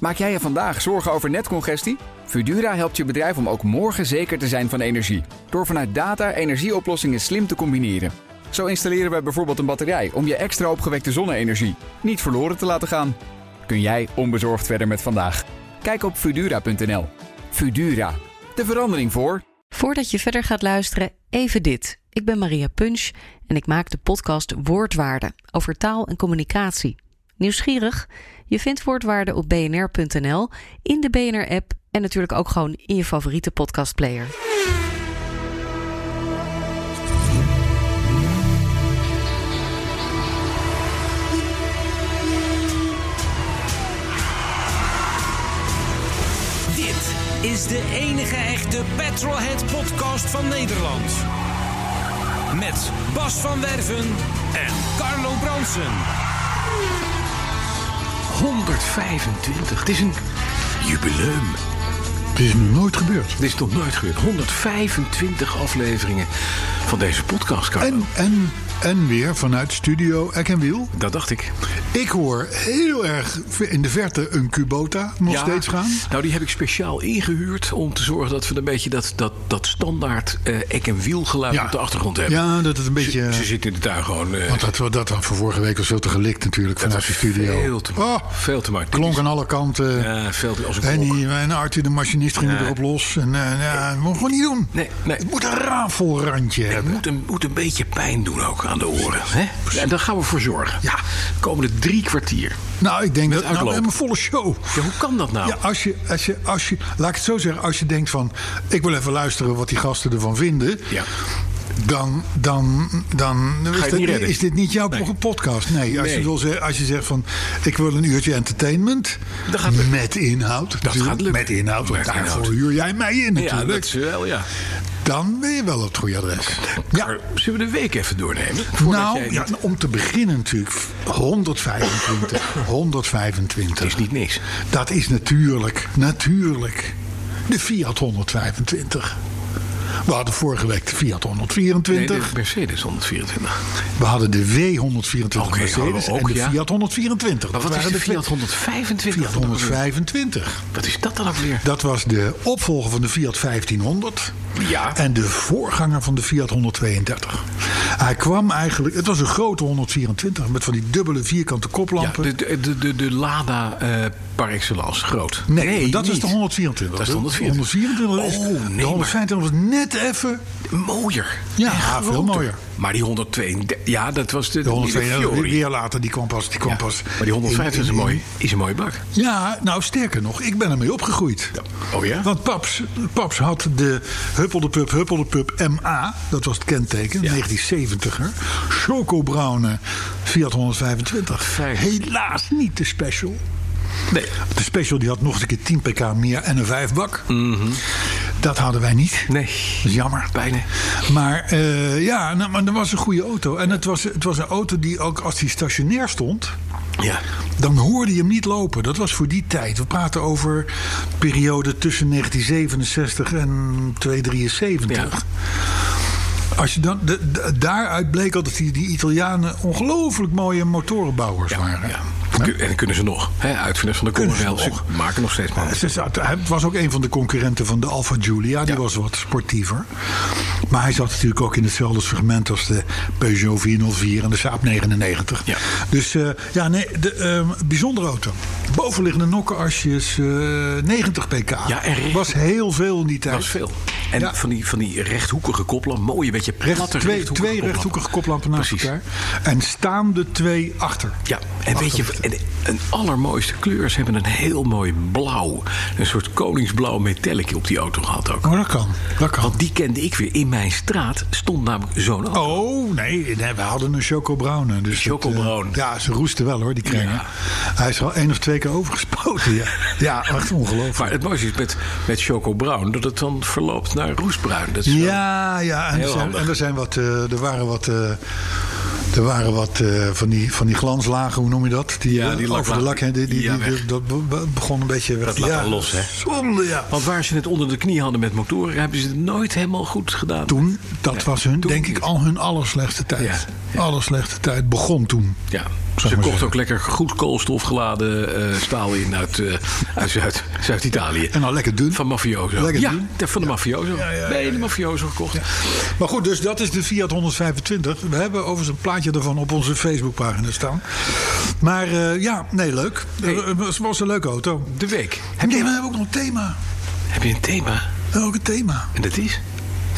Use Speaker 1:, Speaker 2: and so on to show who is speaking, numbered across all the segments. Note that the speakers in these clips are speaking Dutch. Speaker 1: Maak jij je vandaag zorgen over netcongestie? Fudura helpt je bedrijf om ook morgen zeker te zijn van energie. Door vanuit data energieoplossingen slim te combineren. Zo installeren wij bijvoorbeeld een batterij om je extra opgewekte zonne-energie niet verloren te laten gaan. Kun jij onbezorgd verder met vandaag? Kijk op Fudura.nl. Fudura, de verandering voor.
Speaker 2: Voordat je verder gaat luisteren, even dit. Ik ben Maria Punch en ik maak de podcast Woordwaarde over taal en communicatie. Nieuwsgierig? Je vindt Woordwaarde op bnr.nl, in de BNR-app en natuurlijk ook gewoon in je favoriete podcastplayer.
Speaker 3: Dit is de enige echte Petrolhead podcast van Nederland. Met Bas van Werven en Carlo Bronsen.
Speaker 4: 125. Het is een jubileum.
Speaker 5: Het is nooit gebeurd.
Speaker 4: Dit is nog nooit gebeurd. 125 afleveringen van deze podcast, Carlo.
Speaker 5: En, en, en weer vanuit studio Eck en Wiel.
Speaker 4: Dat dacht ik.
Speaker 5: Ik hoor heel erg in de verte een Kubota nog
Speaker 4: Ja,
Speaker 5: steeds gaan.
Speaker 4: Nou, die heb ik speciaal ingehuurd om te zorgen dat we een beetje dat, dat, dat standaard eh ek- en wielgeluid
Speaker 5: Ja.
Speaker 4: op de achtergrond hebben.
Speaker 5: Ja, dat het een beetje... eh,
Speaker 4: Ze, ze zitten in de tuin gewoon. eh,
Speaker 5: want dat, dat had voor vorige week al zo te gelikt natuurlijk vanuit de studio.
Speaker 4: Veel te,
Speaker 5: Oh,
Speaker 4: veel te maken.
Speaker 5: klonk aan alle kanten.
Speaker 4: Ja, veel te, als een
Speaker 5: en,
Speaker 4: klok.
Speaker 5: die, en Arthur de machinist ging erop los. En eh ja, dat mogen we gewoon niet doen.
Speaker 4: Nee, nee.
Speaker 5: Het moet een rafelrandje
Speaker 4: Het
Speaker 5: hebben.
Speaker 4: moet een, moet een beetje pijn doen ook aan de oren. Hè? En daar gaan we voor zorgen. Ja. Komende drie kwartier.
Speaker 5: Nou, ik denk
Speaker 4: Met
Speaker 5: dat... Nou, we
Speaker 4: uitloop.
Speaker 5: hebben een volle show.
Speaker 4: Ja, hoe kan dat nou?
Speaker 5: Ja, als je, als je, als je, laat ik het zo zeggen, als je denkt van, ik wil even luisteren wat die gasten ervan vinden.
Speaker 4: Ja.
Speaker 5: Dan, dan, dan is,
Speaker 4: het
Speaker 5: dit-
Speaker 4: niet redden?
Speaker 5: is dit niet jouw
Speaker 4: Nee.
Speaker 5: podcast. Nee, als,
Speaker 4: Nee.
Speaker 5: Je wil zeggen, als je zegt van ik wil een uurtje entertainment.
Speaker 4: Dat gaat lukken.
Speaker 5: met inhoud. natuurlijk.
Speaker 4: gaat lukken.
Speaker 5: Met inhoud. Want
Speaker 4: Met
Speaker 5: daarvoor
Speaker 4: inhoud.
Speaker 5: huur jij mij in
Speaker 4: Ja,
Speaker 5: natuurlijk.
Speaker 4: dat is wel, ja.
Speaker 5: Dan ben je wel op het goede adres.
Speaker 4: Maar
Speaker 5: Ja.
Speaker 4: zullen we de week even doornemen? Voordat
Speaker 5: Nou,
Speaker 4: jij dit-
Speaker 5: ja, om te beginnen natuurlijk. 125. 125.
Speaker 4: Het is niet niks.
Speaker 5: Dat is natuurlijk, natuurlijk de Fiat 125. We hadden vorige week de Fiat
Speaker 4: Nee, dit
Speaker 5: 124.
Speaker 4: is Mercedes 124.
Speaker 5: we hadden de W124
Speaker 4: Oké, hadden
Speaker 5: Mercedes
Speaker 4: we
Speaker 5: en
Speaker 4: ook,
Speaker 5: de
Speaker 4: ja.
Speaker 5: Fiat 124.
Speaker 4: Maar wat
Speaker 5: Dat
Speaker 4: is
Speaker 5: waren
Speaker 4: de Fiat
Speaker 5: twee-
Speaker 4: 125?
Speaker 5: Fiat 125.
Speaker 4: Wat is dat dan ook weer?
Speaker 5: Dat was de opvolger van de Fiat 1500.
Speaker 4: Ja.
Speaker 5: En de voorganger van de Fiat 132. Hij kwam eigenlijk... Het was een grote 124 met van die dubbele vierkante
Speaker 4: Ja,
Speaker 5: koplampen.
Speaker 4: de, de, de, de, de Lada eh, par excellence, groot.
Speaker 5: Nee, dat is
Speaker 4: niet.
Speaker 5: de 124.
Speaker 4: Dat is de 124.
Speaker 5: 124 is,
Speaker 4: Oh, nee,
Speaker 5: de
Speaker 4: maar-
Speaker 5: 125 was net even
Speaker 4: Mooier.
Speaker 5: Ja,
Speaker 4: En
Speaker 5: veel
Speaker 4: groter.
Speaker 5: mooier.
Speaker 4: Maar die 132, ja, dat was de,
Speaker 5: De 102
Speaker 4: Fiori.
Speaker 5: weer later, die kwam pas. Die kwam
Speaker 4: Ja,
Speaker 5: pas
Speaker 4: Maar die 150
Speaker 5: in-
Speaker 4: is, een
Speaker 5: in-
Speaker 4: mooi, is een mooie bak.
Speaker 5: Ja, nou sterker nog, ik ben ermee opgegroeid.
Speaker 4: Ja. Oh ja?
Speaker 5: Want Paps, Paps had de Huppeldepup, Huppeldepup MA, dat was het kenteken,
Speaker 4: Ja.
Speaker 5: 1970er. Chocobruine Fiat 125.
Speaker 4: Vijf.
Speaker 5: Helaas niet de special.
Speaker 4: Nee.
Speaker 5: De special die had nog eens een keer 10 pk meer en een 5 bak.
Speaker 4: Mhm.
Speaker 5: Dat hadden wij niet.
Speaker 4: Nee.
Speaker 5: Dat is jammer.
Speaker 4: Bijna.
Speaker 5: Maar eh, ja, nou, maar dat was een goede auto. En het was, het was een auto die ook als die stationair stond...
Speaker 4: Ja.
Speaker 5: dan hoorde je hem niet lopen. Dat was voor die tijd. We praten over periode tussen 1967 en 273. Als je dan, de- de- daaruit bleek al dat die, die Italianen ongelooflijk mooie motorenbouwers waren.
Speaker 4: ja. Kun- En kunnen ze nog. Hè, uitvinders van de
Speaker 5: Kunnen ze
Speaker 4: Commonwealth
Speaker 5: nog.
Speaker 4: ze maken nog steeds mannen.
Speaker 5: Ze zaten- hij was ook een van de concurrenten van de Alfa Giulia. Die
Speaker 4: Ja.
Speaker 5: was wat sportiever. Maar hij zat natuurlijk ook in hetzelfde segment als de Peugeot 404 en de Saab 99.
Speaker 4: Ja.
Speaker 5: Dus eh, ja, nee, de, ehm, bijzondere auto. Bovenliggende nokkenasjes, eh 90 pk.
Speaker 4: Ja, en recht-
Speaker 5: was heel veel in die tijd.
Speaker 4: Dat is veel. En
Speaker 5: Ja.
Speaker 4: van, die, van die rechthoekige koppelen, mooie beetje platte
Speaker 5: Recht, twee,
Speaker 4: rechthoekige
Speaker 5: twee
Speaker 4: koplampen.
Speaker 5: rechthoekige koplampen naast
Speaker 4: Precies.
Speaker 5: elkaar. En staande twee achter.
Speaker 4: Ja, en weet je, en, en allermooiste kleur. Ze hebben een heel mooi blauw, een soort koningsblauw metallicje op die auto gehad ook.
Speaker 5: Oh, dat kan. Dat kan.
Speaker 4: Want die kende ik weer. In mijn straat stond namelijk zo'n auto.
Speaker 5: Oh, nee, nee, we hadden een chocobruine. Dus dat,
Speaker 4: Chocobruine.
Speaker 5: eh, ja, ze roesten wel hoor, die kringen. Hij is er al één of twee keer overgespoten. Ja, ja echt ongelooflijk.
Speaker 4: Maar het mooiste is met, met Choco Brown dat het dan verloopt naar roestbruin. Dat is wel-
Speaker 5: Ja, ja. En, er
Speaker 4: Heel
Speaker 5: zijn,
Speaker 4: handig.
Speaker 5: en er, zijn wat, eh, er waren wat, eh, er waren wat eh, van, die, van die glanslagen, hoe noem je dat? Die,
Speaker 4: Ja,
Speaker 5: eh,
Speaker 4: die
Speaker 5: over de lak.
Speaker 4: laklagen.
Speaker 5: hè, die, die,
Speaker 4: Ja,
Speaker 5: die-
Speaker 4: weg.
Speaker 5: dat be- be- begon een beetje weg.
Speaker 4: Dat laat dan los, hè?
Speaker 5: Zonde, ja.
Speaker 4: Want waar ze het onder de knie hadden met motoren, hebben ze het nooit helemaal goed gedaan.
Speaker 5: Toen, dat
Speaker 4: Nee,
Speaker 5: was hun,
Speaker 4: toen
Speaker 5: denk ik,
Speaker 4: niet.
Speaker 5: al hun allerslechtste tijd.
Speaker 4: Ja, ja.
Speaker 5: Allerslechtste tijd begon toen.
Speaker 4: Ja.
Speaker 5: zou
Speaker 4: Ze
Speaker 5: ik maar
Speaker 4: kocht
Speaker 5: zeggen.
Speaker 4: ook lekker goed koolstofgeladen eh, staal in uit, eh, uit Zuid- Zuid-Italië.
Speaker 5: En dan lekker doen.
Speaker 4: Van mafioso.
Speaker 5: Lekker
Speaker 4: ja,
Speaker 5: doen.
Speaker 4: de- van de mafioso.
Speaker 5: Ja, ja, ja,
Speaker 4: nee,
Speaker 5: ja.
Speaker 4: de mafioso gekocht.
Speaker 5: Maar goed, dus dat is de Fiat 125. We hebben overigens een plaatje ervan op onze Facebookpagina staan. Maar eh, ja, nee, leuk. Eh, Het was- was een leuke auto.
Speaker 4: De week.
Speaker 5: Heb je, we hebben ook nog een thema.
Speaker 4: Heb je een thema?
Speaker 5: We hebben ook een thema.
Speaker 4: En dat is?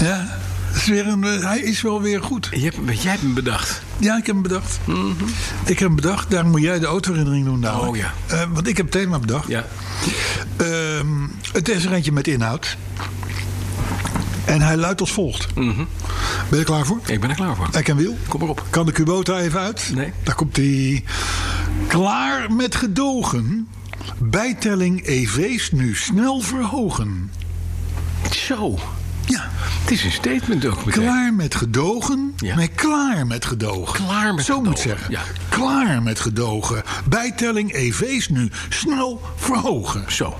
Speaker 5: Ja, het is weer een, eh, hij is wel weer goed.
Speaker 4: Je hebt, jij hebt hem bedacht.
Speaker 5: Ja, ik heb hem bedacht. Ik heb hem bedacht. Daar moet jij de autoherinnering doen namelijk.
Speaker 4: Mhm. Oh, ja.
Speaker 5: Eh, want ik heb het thema bedacht.
Speaker 4: Ja.
Speaker 5: Ehm, het is er eentje met inhoud. En hij luidt als volgt.
Speaker 4: Mhm.
Speaker 5: Ben je er klaar voor?
Speaker 4: Ik ben er klaar voor.
Speaker 5: Ek en wiel.
Speaker 4: Kom maar op.
Speaker 5: Kan de Kubota even uit?
Speaker 4: Nee.
Speaker 5: Daar komt hij. Klaar met gedogen. Bijtelling EV's nu snel verhogen.
Speaker 4: Zo.
Speaker 5: Ja,
Speaker 4: Het is een statement ook meteen.
Speaker 5: klaar met gedogen.
Speaker 4: Ja.
Speaker 5: Nee, klaar met gedogen.
Speaker 4: Klaar met
Speaker 5: Zo moet
Speaker 4: gedogen,
Speaker 5: zeggen.
Speaker 4: ja.
Speaker 5: Klaar met gedogen. Bijtelling EV's nu snel verhogen.
Speaker 4: Zo.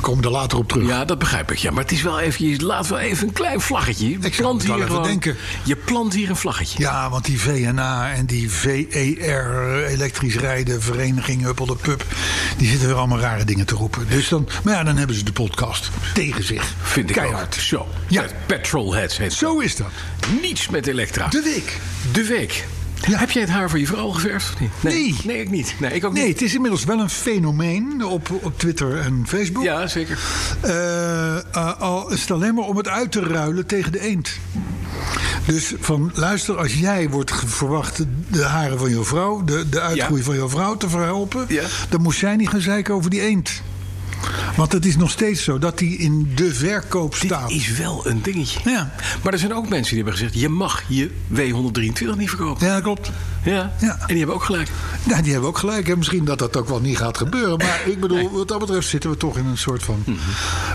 Speaker 5: Komen we er later op terug.
Speaker 4: Ja, dat begrijp ik. Ja, maar het is wel even, je laat wel even een klein vlaggetje. Je
Speaker 5: zou het wel even denken.
Speaker 4: Je plant hier een vlaggetje.
Speaker 5: Ja, want die VNA en die VER, eh, elektrisch rijden, vereniging Huppel de Pub... die zitten weer allemaal rare dingen te roepen. Dus dan, maar ja, dan hebben ze de podcast tegen zich.
Speaker 4: Vind ik ook.
Speaker 5: Keihard.
Speaker 4: Zo.
Speaker 5: Ja.
Speaker 4: Met Petrolheads heet
Speaker 5: Zo is dat.
Speaker 4: het. Niets met Elektra.
Speaker 5: De week.
Speaker 4: De week.
Speaker 5: Ja.
Speaker 4: Heb jij het haar voor je vrouw geverfd? of niet?
Speaker 5: Nee.
Speaker 4: Nee, ik niet. Nee, ik ook
Speaker 5: Nee,
Speaker 4: niet.
Speaker 5: het is inmiddels wel een fenomeen op, op Twitter en Facebook.
Speaker 4: Ja, zeker.
Speaker 5: Eh, eh, al is het alleen maar om het uit te ruilen tegen de eend. Dus van luister, als jij wordt ge- verwacht de haren van jouw vrouw, de, de uitgroei
Speaker 4: Ja.
Speaker 5: van jouw vrouw te verhelpen,
Speaker 4: Ja.
Speaker 5: dan moest zij niet gaan zeiken over die eend. Want het is nog steeds zo dat die in de verkoop staat.
Speaker 4: Dit is wel een dingetje.
Speaker 5: Ja.
Speaker 4: Maar er zijn ook mensen die hebben gezegd... je mag je W123 niet verkopen.
Speaker 5: Ja, dat klopt.
Speaker 4: Ja.
Speaker 5: Ja.
Speaker 4: En die hebben ook gelijk.
Speaker 5: Nou, die hebben ook gelijk. En misschien dat dat ook wel niet gaat gebeuren. Maar ik bedoel, wat dat betreft zitten we toch in een soort van
Speaker 4: Mhm.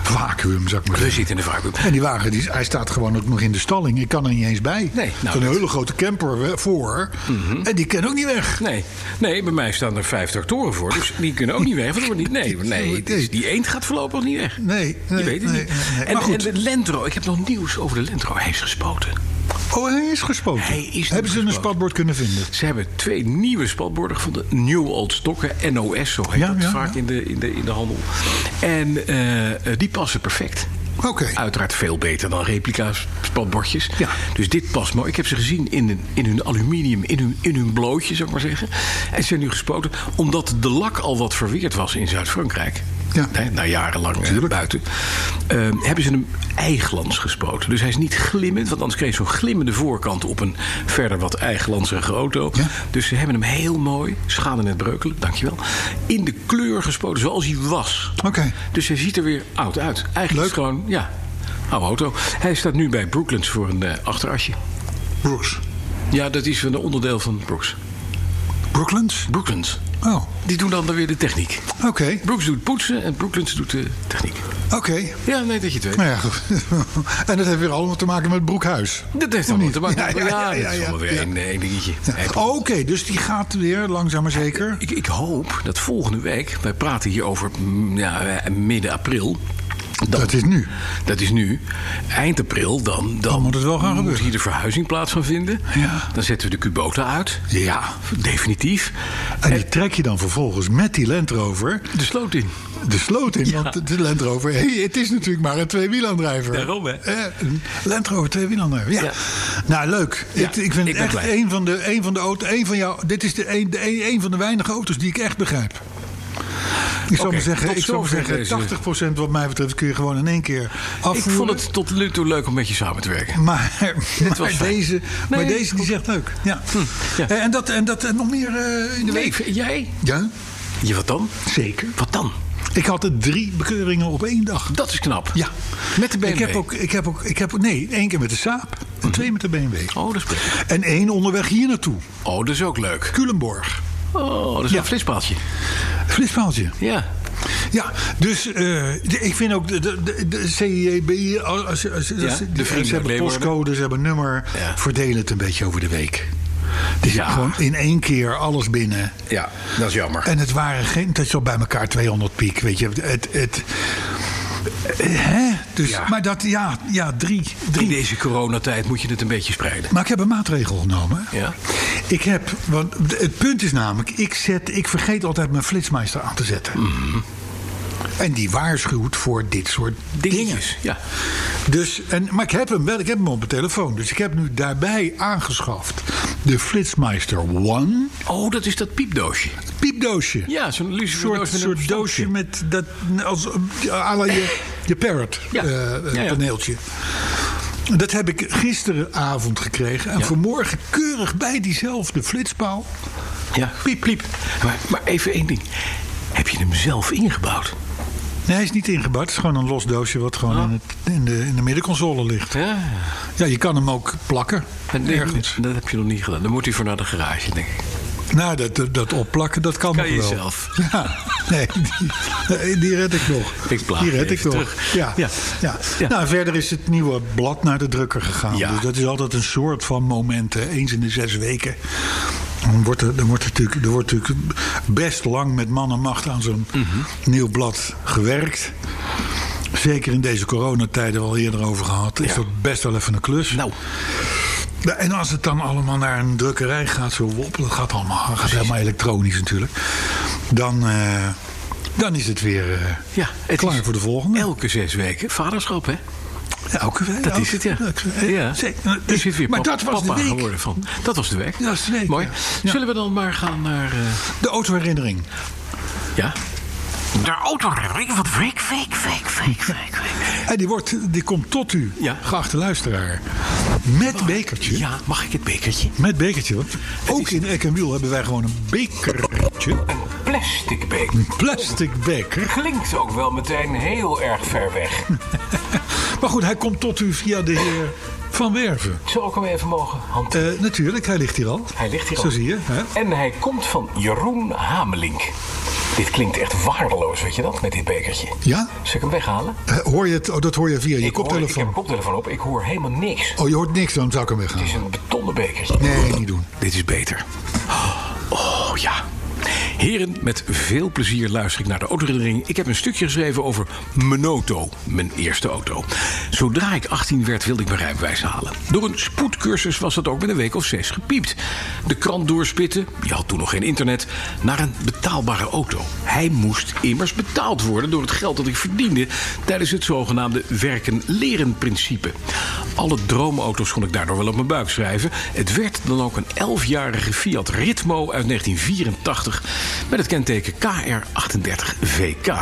Speaker 5: vacuüm, zou ik maar
Speaker 4: We
Speaker 5: zeggen.
Speaker 4: zitten in de vacuüm.
Speaker 5: En die wagen, die, hij staat gewoon ook nog in de stalling. Ik kan er niet eens bij.
Speaker 4: Nee,
Speaker 5: Zo'n
Speaker 4: nou, dat- Mhm.
Speaker 5: hele grote camper we- voor. En die kan ook niet weg.
Speaker 4: Nee. nee, bij mij staan er vijf tractoren voor. Dus die kunnen ook niet weg. want dat wordt niet, nee, nee, het is- die eend gaat voorlopig niet weg.
Speaker 5: Nee, nee,
Speaker 4: je weet het
Speaker 5: nee,
Speaker 4: niet.
Speaker 5: nee, nee.
Speaker 4: En,
Speaker 5: Maar goed.
Speaker 4: en de Lentro, ik heb nog nieuws over de Lentro. Hij is gespoten.
Speaker 5: Oh, hij is gespoten.
Speaker 4: Hij is nog
Speaker 5: Hebben ze een
Speaker 4: gespoten.
Speaker 5: spatbord kunnen vinden?
Speaker 4: Ze hebben twee nieuwe spatborden gevonden. New Old Stokken, NOS, zo heet
Speaker 5: Ja,
Speaker 4: dat
Speaker 5: ja,
Speaker 4: vaak
Speaker 5: ja.
Speaker 4: In, de, in, de, in de handel. En eh, eh, die passen perfect.
Speaker 5: Oké.
Speaker 4: Uiteraard veel beter dan replica spatbordjes.
Speaker 5: Ja.
Speaker 4: Dus dit past mooi. Ik heb ze gezien in, hun- in hun aluminium, in hun, in hun blootje, zou ik maar zeggen. En ze zijn nu gespoten omdat de lak al wat verweerd was in Zuid-Frankrijk.
Speaker 5: Ja.
Speaker 4: Hè, na jarenlang eh, buiten. eh, hebben ze hem eiglands gespoten. Dus hij is niet glimmend, want anders kreeg je zo'n glimmende voorkant op een verder wat eiglanserige auto.
Speaker 5: Ja.
Speaker 4: Dus ze hebben hem heel mooi, schade net breukelen, dankjewel, in de kleur gespoten zoals hij was.
Speaker 5: Oké.
Speaker 4: Dus hij ziet er weer oud uit. Eigenlijk is het
Speaker 5: Leuk.
Speaker 4: gewoon, ja, oude auto. Hij staat nu bij Brooklands voor een eh, achterasje.
Speaker 5: Brooks.
Speaker 4: Ja, dat is een onderdeel van Brooks.
Speaker 5: Brooklands?
Speaker 4: Brooklands.
Speaker 5: Oh,
Speaker 4: Die doen dan weer de techniek.
Speaker 5: oké.
Speaker 4: Brooks doet poetsen en Brooklands doet de techniek.
Speaker 5: Oké.
Speaker 4: Ja, nee, dat je het weet.
Speaker 5: Nou ja, goed. en dat heeft weer allemaal te maken met Broekhuis.
Speaker 4: Dat heeft allemaal te maken.
Speaker 5: Ja,
Speaker 4: Ja,
Speaker 5: ja, ja, ja,
Speaker 4: dat is
Speaker 5: ja.
Speaker 4: allemaal weer
Speaker 5: Ja.
Speaker 4: één- één dingetje. Hij-
Speaker 5: Oké, dus die gaat weer, langzaam maar zeker.
Speaker 4: Ik, ik hoop dat volgende week, wij praten hier over mm, ja, eh, midden april. Dan,
Speaker 5: Dat is nu.
Speaker 4: dat is nu. Eind april, dan, dan,
Speaker 5: moet het wel gaan gebeuren.
Speaker 4: hier de verhuizen plaats gaan vinden.
Speaker 5: Ja.
Speaker 4: Dan zetten we de Kubota uit.
Speaker 5: Ja.
Speaker 4: Definitief.
Speaker 5: En die trek je dan vervolgens met die Land Rover
Speaker 4: De sloot in.
Speaker 5: de sloot in. Want de Land Rover, hey, het is natuurlijk maar een tweewielaandrijver.
Speaker 4: Daarom, hè?
Speaker 5: Eh, een Land Rover tweewielaandrijver, ja.
Speaker 4: Ja.
Speaker 5: Nou, leuk.
Speaker 4: Ja,
Speaker 5: ik, ik
Speaker 4: ik
Speaker 5: vind het
Speaker 4: ben
Speaker 5: echt
Speaker 4: blij.
Speaker 5: een van, de, een van de auto's... Een van jou, dit is de een, de een, een van de weinige auto's die ik echt begrijp. Ik zou
Speaker 4: Oké,
Speaker 5: maar zeggen,
Speaker 4: tot
Speaker 5: ik zou maar
Speaker 4: zover
Speaker 5: zeggen
Speaker 4: deze-
Speaker 5: 80% wat mij betreft kun je gewoon in één keer afvoeren.
Speaker 4: Ik vond het tot nu toe leuk om met je samen te werken.
Speaker 5: Maar, maar,
Speaker 4: was fijn.
Speaker 5: deze, maar
Speaker 4: Nee, Hm,
Speaker 5: deze die zegt leuk. Ja.
Speaker 4: ja.
Speaker 5: Eh, En, dat, en dat en nog meer eh, in
Speaker 4: Nee,
Speaker 5: de week.
Speaker 4: v- jij?
Speaker 5: Ja,
Speaker 4: Ja, wat dan?
Speaker 5: zeker.
Speaker 4: Wat dan?
Speaker 5: Ik had er drie bekeuringen op één dag.
Speaker 4: Dat is knap.
Speaker 5: Ja.
Speaker 4: Met de BMW.
Speaker 5: Ik heb ook, ik heb ook, ik heb, nee, één keer met de Saab
Speaker 4: Mhm.
Speaker 5: en twee met de BMW.
Speaker 4: Oh, dat is prettig.
Speaker 5: En één onderweg hier naartoe,
Speaker 4: Oh, dat is ook leuk.
Speaker 5: Culemborg.
Speaker 4: Oh, dat is een flitspaaltje.
Speaker 5: Flitspaaltje.
Speaker 4: Ja.
Speaker 5: Ja, dus eh, de- ik vind ook de, de, de, de CJB, als, als, als, als-
Speaker 4: de
Speaker 5: ze
Speaker 4: vrienden
Speaker 5: hebben
Speaker 4: Leeuwarden.
Speaker 5: postcode, ze hebben nummer,
Speaker 4: Ja.
Speaker 5: verdeel het een beetje over de week. Dus
Speaker 4: Ja.
Speaker 5: gewoon in één keer alles binnen.
Speaker 4: Ja, dat is jammer.
Speaker 5: En het waren geen, het is al bij elkaar 200 piek, weet je. Het, het, Hè? Dus,
Speaker 4: Ja.
Speaker 5: Maar dat, ja, ja drie.
Speaker 4: In
Speaker 5: drie.
Speaker 4: deze coronatijd moet je het een beetje spreiden.
Speaker 5: Maar ik heb een maatregel genomen.
Speaker 4: Ja.
Speaker 5: Ik heb, want d- het punt is namelijk, ik, zet, ik vergeet altijd mijn flitsmeister aan te zetten.
Speaker 4: Mhm.
Speaker 5: En die waarschuwt voor dit soort dingen.
Speaker 4: Dingetjes. Ja.
Speaker 5: Dus, en, maar ik heb hem wel, ik heb hem op mijn telefoon. Dus ik heb nu daarbij aangeschaft de Flitsmeister One
Speaker 4: Oh, dat is dat piepdoosje.
Speaker 5: piepdoosje.
Speaker 4: Ja, zo'n lucifer
Speaker 5: soort,
Speaker 4: doos met een
Speaker 5: soort doosje
Speaker 4: stampje.
Speaker 5: met dat als à la je, je parrot
Speaker 4: Ja.
Speaker 5: eh,
Speaker 4: Ja, ja.
Speaker 5: paneeltje. Dat heb ik gisteravond gekregen en vanmorgen keurig bij diezelfde flitspaal.
Speaker 4: Ja. Piep, piep. Maar, maar even één ding. Heb je hem zelf ingebouwd?
Speaker 5: Nee, hij is niet ingebouwd. Het is gewoon een los doosje wat
Speaker 4: Oh.
Speaker 5: gewoon in, het, in, de, in de middenconsole ligt.
Speaker 4: Ja.
Speaker 5: Ja, je kan hem ook plakken.
Speaker 4: En
Speaker 5: Ergens.
Speaker 4: Dat heb je nog niet gedaan. Dan moet hij voor naar de garage, denk ik.
Speaker 5: Nou, dat, dat, dat opplakken, dat kan,
Speaker 4: Kan
Speaker 5: nog
Speaker 4: je
Speaker 5: wel.
Speaker 4: zelf.
Speaker 5: Ja, nee, die, die red ik nog.
Speaker 4: Ik plaag
Speaker 5: die red
Speaker 4: even
Speaker 5: ik nog.
Speaker 4: terug.
Speaker 5: Ja.
Speaker 4: Ja.
Speaker 5: Ja.
Speaker 4: Ja.
Speaker 5: Nou, en verder is het nieuwe blad naar de drukker gegaan.
Speaker 4: Ja.
Speaker 5: Dus dat is altijd een soort van moment. hè. Eens in de zes weken. Dan wordt er, dan wordt er, natuurlijk, er wordt natuurlijk best lang met man en macht aan zo'n
Speaker 4: Mhm.
Speaker 5: nieuw blad gewerkt. Zeker in deze coronatijden, al eerder over gehad, is
Speaker 4: Ja.
Speaker 5: dat best wel even een klus.
Speaker 4: Nou,
Speaker 5: Ja, En als het dan allemaal naar een drukkerij gaat, zo woppelen, gaat allemaal, gaat helemaal elektronisch natuurlijk. Dan, eh, dan is het weer eh,
Speaker 4: ja. Het
Speaker 5: klaar
Speaker 4: is
Speaker 5: voor de volgende.
Speaker 4: Elke zes weken. Vaderschap, hè?
Speaker 5: elke week.
Speaker 4: Dat
Speaker 5: elke-
Speaker 4: is het, ja.
Speaker 5: elke- eh,
Speaker 4: ja.
Speaker 5: zeker. Dus-
Speaker 4: Er zit weer
Speaker 5: maar
Speaker 4: pap-
Speaker 5: dat was
Speaker 4: papa
Speaker 5: de week.
Speaker 4: geworden van. Dat was de week.
Speaker 5: Dat was de week,
Speaker 4: Mooi.
Speaker 5: ja. Ja.
Speaker 4: Zullen we dan maar gaan naar... eh,
Speaker 5: De autoherinnering.
Speaker 4: ja?
Speaker 6: De auto van de week, week, week, week, week, week.
Speaker 5: En die, wordt, die komt tot u,
Speaker 4: Ja.
Speaker 5: geachte luisteraar. Met bekertje.
Speaker 4: Ja, mag ik het bekertje?
Speaker 5: Met bekertje. Want ook in Eck en Wiel hebben wij gewoon een bekertje.
Speaker 6: Plastic beek
Speaker 5: Een plastic beker.
Speaker 6: klinkt ook wel meteen heel erg ver weg.
Speaker 5: Maar goed, hij komt tot u via de heer Van Werven.
Speaker 6: Zou ik hem even mogen hanteren?
Speaker 5: Eh, natuurlijk, hij ligt hier al.
Speaker 6: Hij ligt hier
Speaker 5: Zo
Speaker 6: al.
Speaker 5: zie je. Hè?
Speaker 6: En hij komt van Jeroen Hamelink. Dit klinkt echt waardeloos, weet je dat, met dit bekertje.
Speaker 5: Ja?
Speaker 6: Zal ik hem weghalen?
Speaker 5: Eh, Hoor je het? Oh, dat hoor je via
Speaker 6: ik,
Speaker 5: je
Speaker 6: hoor, ik heb
Speaker 5: koptelefoon.
Speaker 6: een koptelefoon op, ik hoor helemaal niks.
Speaker 5: Oh, je hoort niks, dan zou ik hem
Speaker 6: Het
Speaker 5: weggaan.
Speaker 6: is een betonnen bekertje.
Speaker 5: Nee, niet doen.
Speaker 4: Dit is beter. Oh ja. Heren, met veel plezier luister ik naar de autoherinnering. Ik heb een stukje geschreven over mijn auto, mijn eerste auto. Zodra ik 18 werd, wilde ik mijn rijbewijs halen. Door een spoedcursus was dat ook met een week of zes gepiept. De krant doorspitten, je had toen nog geen internet, naar een betaalbare auto. Hij moest immers betaald worden door het geld dat ik verdiende tijdens het zogenaamde werken-leren principe. Alle droomauto's kon ik daardoor wel op mijn buik schrijven. Het werd dan ook een 11-jarige Fiat Ritmo uit 1984 met het kenteken KR38VK.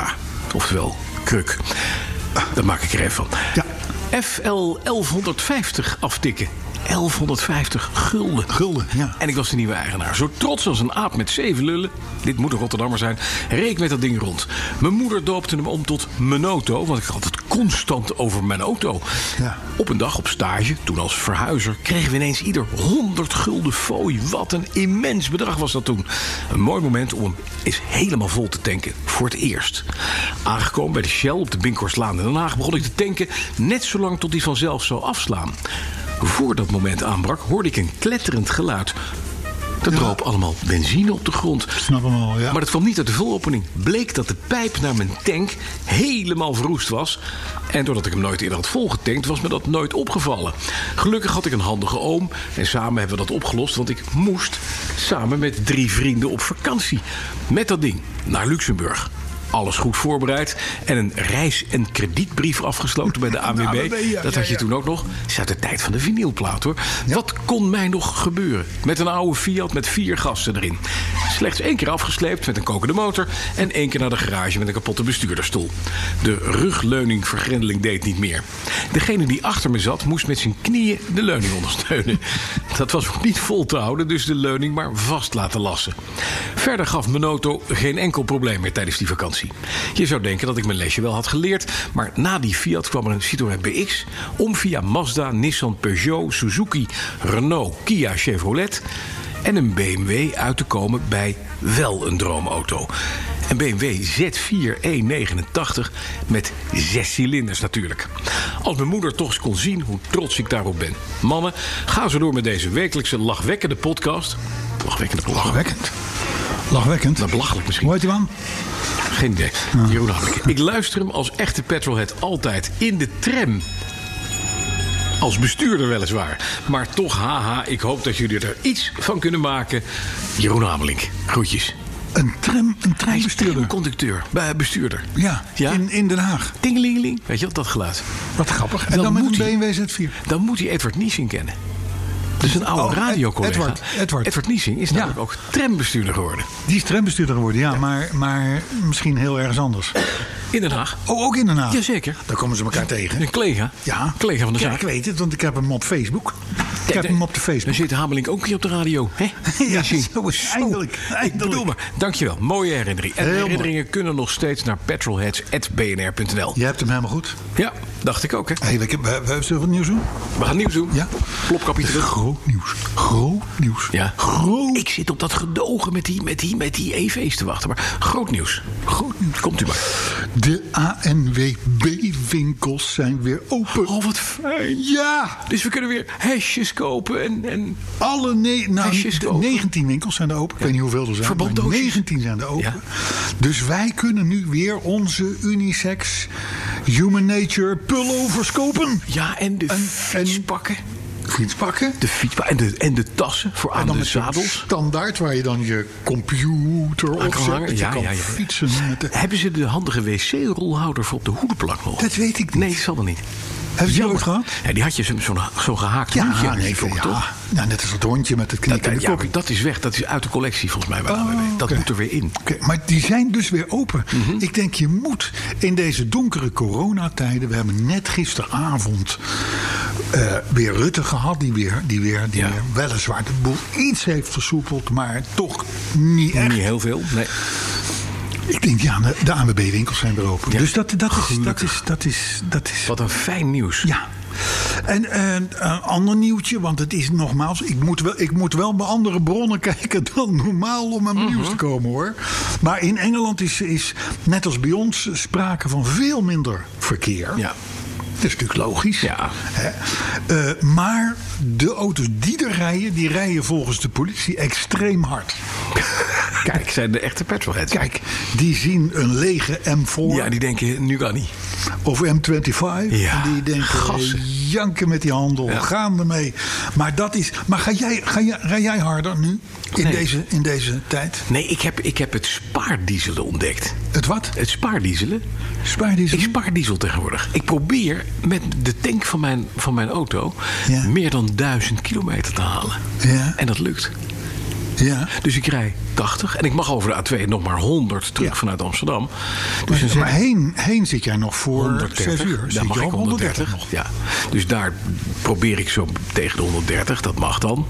Speaker 4: Oftewel kruk. Ah, Daar maak ik er even van. FL 1150 aftikken. 1150 gulden.
Speaker 5: Gulden, ja.
Speaker 4: En ik was de nieuwe eigenaar. Zo trots als een aap met zeven lullen. Dit moet een Rotterdammer zijn. Reek ik met dat ding rond. Mijn moeder doopte hem om tot mijn auto. Want ik had het constant over mijn auto.
Speaker 5: Ja.
Speaker 4: Op een dag op stage, toen als verhuizer, kregen we ineens ieder 100 gulden fooi. Wat een immens bedrag was dat toen. Een mooi moment om hem eens helemaal vol te tanken. Voor het eerst. Aangekomen bij de Shell op de Binkhorstlaan in Den Haag begon ik te tanken. Net zolang tot die vanzelf zou afslaan. Voor dat moment aanbrak hoorde ik een kletterend geluid. Er droop allemaal benzine op de grond.
Speaker 5: Snap hem al, ja.
Speaker 4: Maar dat kwam niet uit de vooropening. Bleek dat de pijp naar mijn tank helemaal verroest was. En doordat ik hem nooit eerder had volgetankt, was me dat nooit opgevallen. Gelukkig had ik een handige oom. En samen hebben we dat opgelost, want ik moest samen met drie vrienden op vakantie. Met dat ding naar Luxemburg. Alles goed voorbereid en een reis- en kredietbrief afgesloten bij de AWB.
Speaker 5: AWB, Nou, ja,
Speaker 4: Dat
Speaker 5: ja,
Speaker 4: had je
Speaker 5: ja.
Speaker 4: toen ook nog. Het is uit de tijd van de vinylplaat hoor. Wat kon mij nog gebeuren? Met een oude Fiat met vier gasten erin. Slechts één keer afgesleept met een kokende motor. En één keer naar de garage met een kapotte bestuurdersstoel. De rugleuning vergrendeling deed niet meer. Degene die achter me zat moest met zijn knieën de leuning ondersteunen. Dat was ook niet vol te houden, dus de leuning maar vast laten lassen. Verder gaf mijn auto geen enkel probleem meer tijdens die vakantie. Je zou denken dat ik mijn lesje wel had geleerd, maar na die Fiat kwam er een Citroën BX om via Mazda, Nissan, Peugeot, Suzuki, Renault, Kia, Chevrolet en een BMW uit te komen bij wel een droomauto. Een BMW Z4 E89 met zes cilinders natuurlijk. Als mijn moeder toch eens kon zien hoe trots ik daarop ben. Mannen, ga zo door met deze wekelijkse lachwekkende podcast. Lachwekkende, lachwekkend.
Speaker 5: Lachwekkend.
Speaker 4: Nou, belachelijk misschien.
Speaker 5: Hoe heet die man?
Speaker 4: Geen idee. Jeroen Haplik. Ik luister hem als echte petrolhead altijd in de tram. Als bestuurder weliswaar. Maar toch, haha, ik hoop dat jullie er iets van kunnen maken. Jeroen Hamelink, groetjes.
Speaker 5: Een tram, een trambestuurder.
Speaker 4: Conducteur, bij bestuurder.
Speaker 5: Ja,
Speaker 4: Ja?
Speaker 5: In, in Den Haag.
Speaker 4: Tingelingeling, weet je wat dat geluid?
Speaker 5: Wat grappig. En
Speaker 4: Dan
Speaker 5: dan,
Speaker 4: moet
Speaker 5: met
Speaker 4: hij.
Speaker 5: een BMW Z4.
Speaker 4: Dan moet hij Edward Niesing kennen. Dat is een oude
Speaker 5: Oh, Ed-
Speaker 4: radiocollega.
Speaker 5: Edward, Edward.
Speaker 4: Niesing is namelijk ook trambestuurder geworden.
Speaker 5: Die is trambestuurder geworden, ja, Maar, maar misschien heel ergens anders.
Speaker 4: In Den Haag.
Speaker 5: Oh, ook in Den Haag?
Speaker 4: Jazeker.
Speaker 5: Daar komen ze elkaar tegen.
Speaker 4: Een collega.
Speaker 5: Ja.
Speaker 4: Collega van de
Speaker 5: ja,
Speaker 4: zaak.
Speaker 5: ik weet het, want ik heb hem op Facebook. Ik heb hem op de
Speaker 4: Dan
Speaker 5: Facebook.
Speaker 4: zit Hamelink ook hier op de radio. Hè?
Speaker 5: Ja,
Speaker 4: zie.
Speaker 5: zo is
Speaker 4: Zo.
Speaker 5: eindelijk.
Speaker 4: Ik bedoel
Speaker 5: eindelijk.
Speaker 4: maar. Dankjewel. Mooie herinnering. En
Speaker 5: Heel
Speaker 4: herinneringen kunnen nog steeds naar petrolheads.bnr.nl.
Speaker 5: Je hebt hem helemaal goed.
Speaker 4: Ja, dacht ik ook. Hè?
Speaker 5: Hey, we, we, we zullen we wat nieuws doen?
Speaker 4: We gaan nieuws doen.
Speaker 5: Ja.
Speaker 4: Plopkapje terug.
Speaker 5: Groot nieuws. Groot nieuws.
Speaker 4: Ja.
Speaker 5: Groot
Speaker 4: Ik zit op dat gedogen met die, met, die, met die EV's te wachten. Maar groot nieuws. Groot nieuws. Komt u maar.
Speaker 5: De ANWB-winkels zijn weer open.
Speaker 4: Oh, wat fijn.
Speaker 5: Ja,
Speaker 4: Dus we kunnen weer hesjes kopen en... en...
Speaker 5: alle ne- nou,
Speaker 4: Hesjes
Speaker 5: de
Speaker 4: kopen.
Speaker 5: 19 winkels zijn er open. Ik weet niet hoeveel er zijn.
Speaker 4: Verbanddoosjes.
Speaker 5: maar 19 zijn er open.
Speaker 4: Ja.
Speaker 5: Dus wij kunnen nu weer onze unisex human nature pullovers kopen.
Speaker 4: Ja, en de
Speaker 5: En-
Speaker 4: fiets
Speaker 5: en-
Speaker 4: pakken.
Speaker 5: Fiets pakken.
Speaker 4: De fiets en de, en de tassen voor aan
Speaker 5: En dan
Speaker 4: de
Speaker 5: met zo'n
Speaker 4: zadels.
Speaker 5: standaard waar je dan je computer
Speaker 4: Aan
Speaker 5: op
Speaker 4: kan
Speaker 5: zet.
Speaker 4: hangen.
Speaker 5: dat je
Speaker 4: Ja,
Speaker 5: kan
Speaker 4: ja, ja.
Speaker 5: fietsen met de...
Speaker 4: Hebben ze de handige wc-rolhouder voor op de hoedenplak nog?
Speaker 5: Dat weet ik niet.
Speaker 4: Nee, dat zal wel niet.
Speaker 5: Heb je die ooit gehad?
Speaker 4: Ja, die had je zo'n zo'n zo'n gehaakt
Speaker 5: Ja,
Speaker 4: hoedje.
Speaker 5: ja, nee,
Speaker 4: vroeger,
Speaker 5: ja.
Speaker 4: toch?
Speaker 5: Nou, net als het hondje met het
Speaker 4: Dat,
Speaker 5: knikken.
Speaker 4: ja, maar dat is weg. Dat is uit de collectie volgens mij. Bij
Speaker 5: Oh,
Speaker 4: AWB. Dat
Speaker 5: oké.
Speaker 4: moet er weer in.
Speaker 5: Oké, maar die zijn dus weer open.
Speaker 4: Mhm.
Speaker 5: Ik denk, je moet in deze donkere coronatijden. We hebben net gisteravond eh, weer Rutte gehad, die weer, die weer, die
Speaker 4: Ja.
Speaker 5: weer weliswaar de boel iets heeft versoepeld, maar toch niet echt.
Speaker 4: Niet heel veel. Nee.
Speaker 5: Ik denk, ja, de, de ANWB-winkels zijn weer open.
Speaker 4: Ja.
Speaker 5: Dus dat, dat, is, dat,
Speaker 4: Gelukkig.
Speaker 5: is, dat, is, dat is
Speaker 4: Wat een fijn nieuws.
Speaker 5: ja. En eh, een ander nieuwtje, want het is nogmaals, ik moet, wel, ik moet wel bij andere bronnen kijken dan normaal om aan nieuws
Speaker 4: Mhm.
Speaker 5: te komen hoor. Maar in Engeland is, is net als bij ons sprake van veel minder verkeer.
Speaker 4: Ja.
Speaker 5: Dat is natuurlijk logisch.
Speaker 4: Ja.
Speaker 5: Hè? Eh, maar de auto's die er rijden, die rijden volgens de politie extreem hard.
Speaker 4: Kijk, zijn de echte petrolheads.
Speaker 5: Kijk, die zien een lege M4
Speaker 4: Ja, die denken, nu kan niet.
Speaker 5: Of M25.
Speaker 4: Ja,
Speaker 5: en die denken,
Speaker 4: gassen.
Speaker 5: eh, janken met die handel,
Speaker 4: Ja.
Speaker 5: gaan ermee. Maar dat is. Maar ga jij, ga jij, rij jij harder nu? In,
Speaker 4: Nee.
Speaker 5: deze, in deze tijd?
Speaker 4: Nee, ik heb, ik heb het spaardieselen ontdekt.
Speaker 5: Het wat?
Speaker 4: Het spaardieselen?
Speaker 5: Spaardiesel?
Speaker 4: Ik spaar diesel tegenwoordig. Ik probeer met de tank van mijn, van mijn auto
Speaker 5: Ja.
Speaker 4: meer dan 1000 kilometer te halen.
Speaker 5: Ja.
Speaker 4: En dat lukt.
Speaker 5: Ja.
Speaker 4: Dus ik rij 80 en ik mag over de A2 nog maar 100 terug
Speaker 5: Ja.
Speaker 4: vanuit Amsterdam. Dus
Speaker 5: Maar,
Speaker 4: dan
Speaker 5: maar
Speaker 4: zeg ik
Speaker 5: heen, heen zit jij nog voor
Speaker 4: 130.
Speaker 5: 6 uur.
Speaker 4: Dan
Speaker 5: Zit
Speaker 4: mag
Speaker 5: je
Speaker 4: ik
Speaker 5: op
Speaker 4: 130. Ja. Dus daar probeer ik zo tegen de 130, dat mag dan.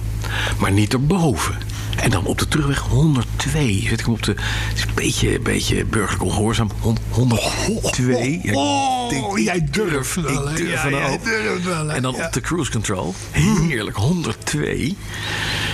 Speaker 4: Maar niet erboven. En dan op de terugweg 102. Zit ik hem op de. Het is een beetje, een beetje burgerlijk ongehoorzaam. Hon- 102. Ja, ik
Speaker 5: Oh, jij durft
Speaker 4: Ik
Speaker 5: wel, hè?
Speaker 4: durf
Speaker 5: Ja,
Speaker 4: wel.
Speaker 5: jij durft wel, hè?
Speaker 4: En dan
Speaker 5: Ja.
Speaker 4: op de cruise control. Heerlijk, 102.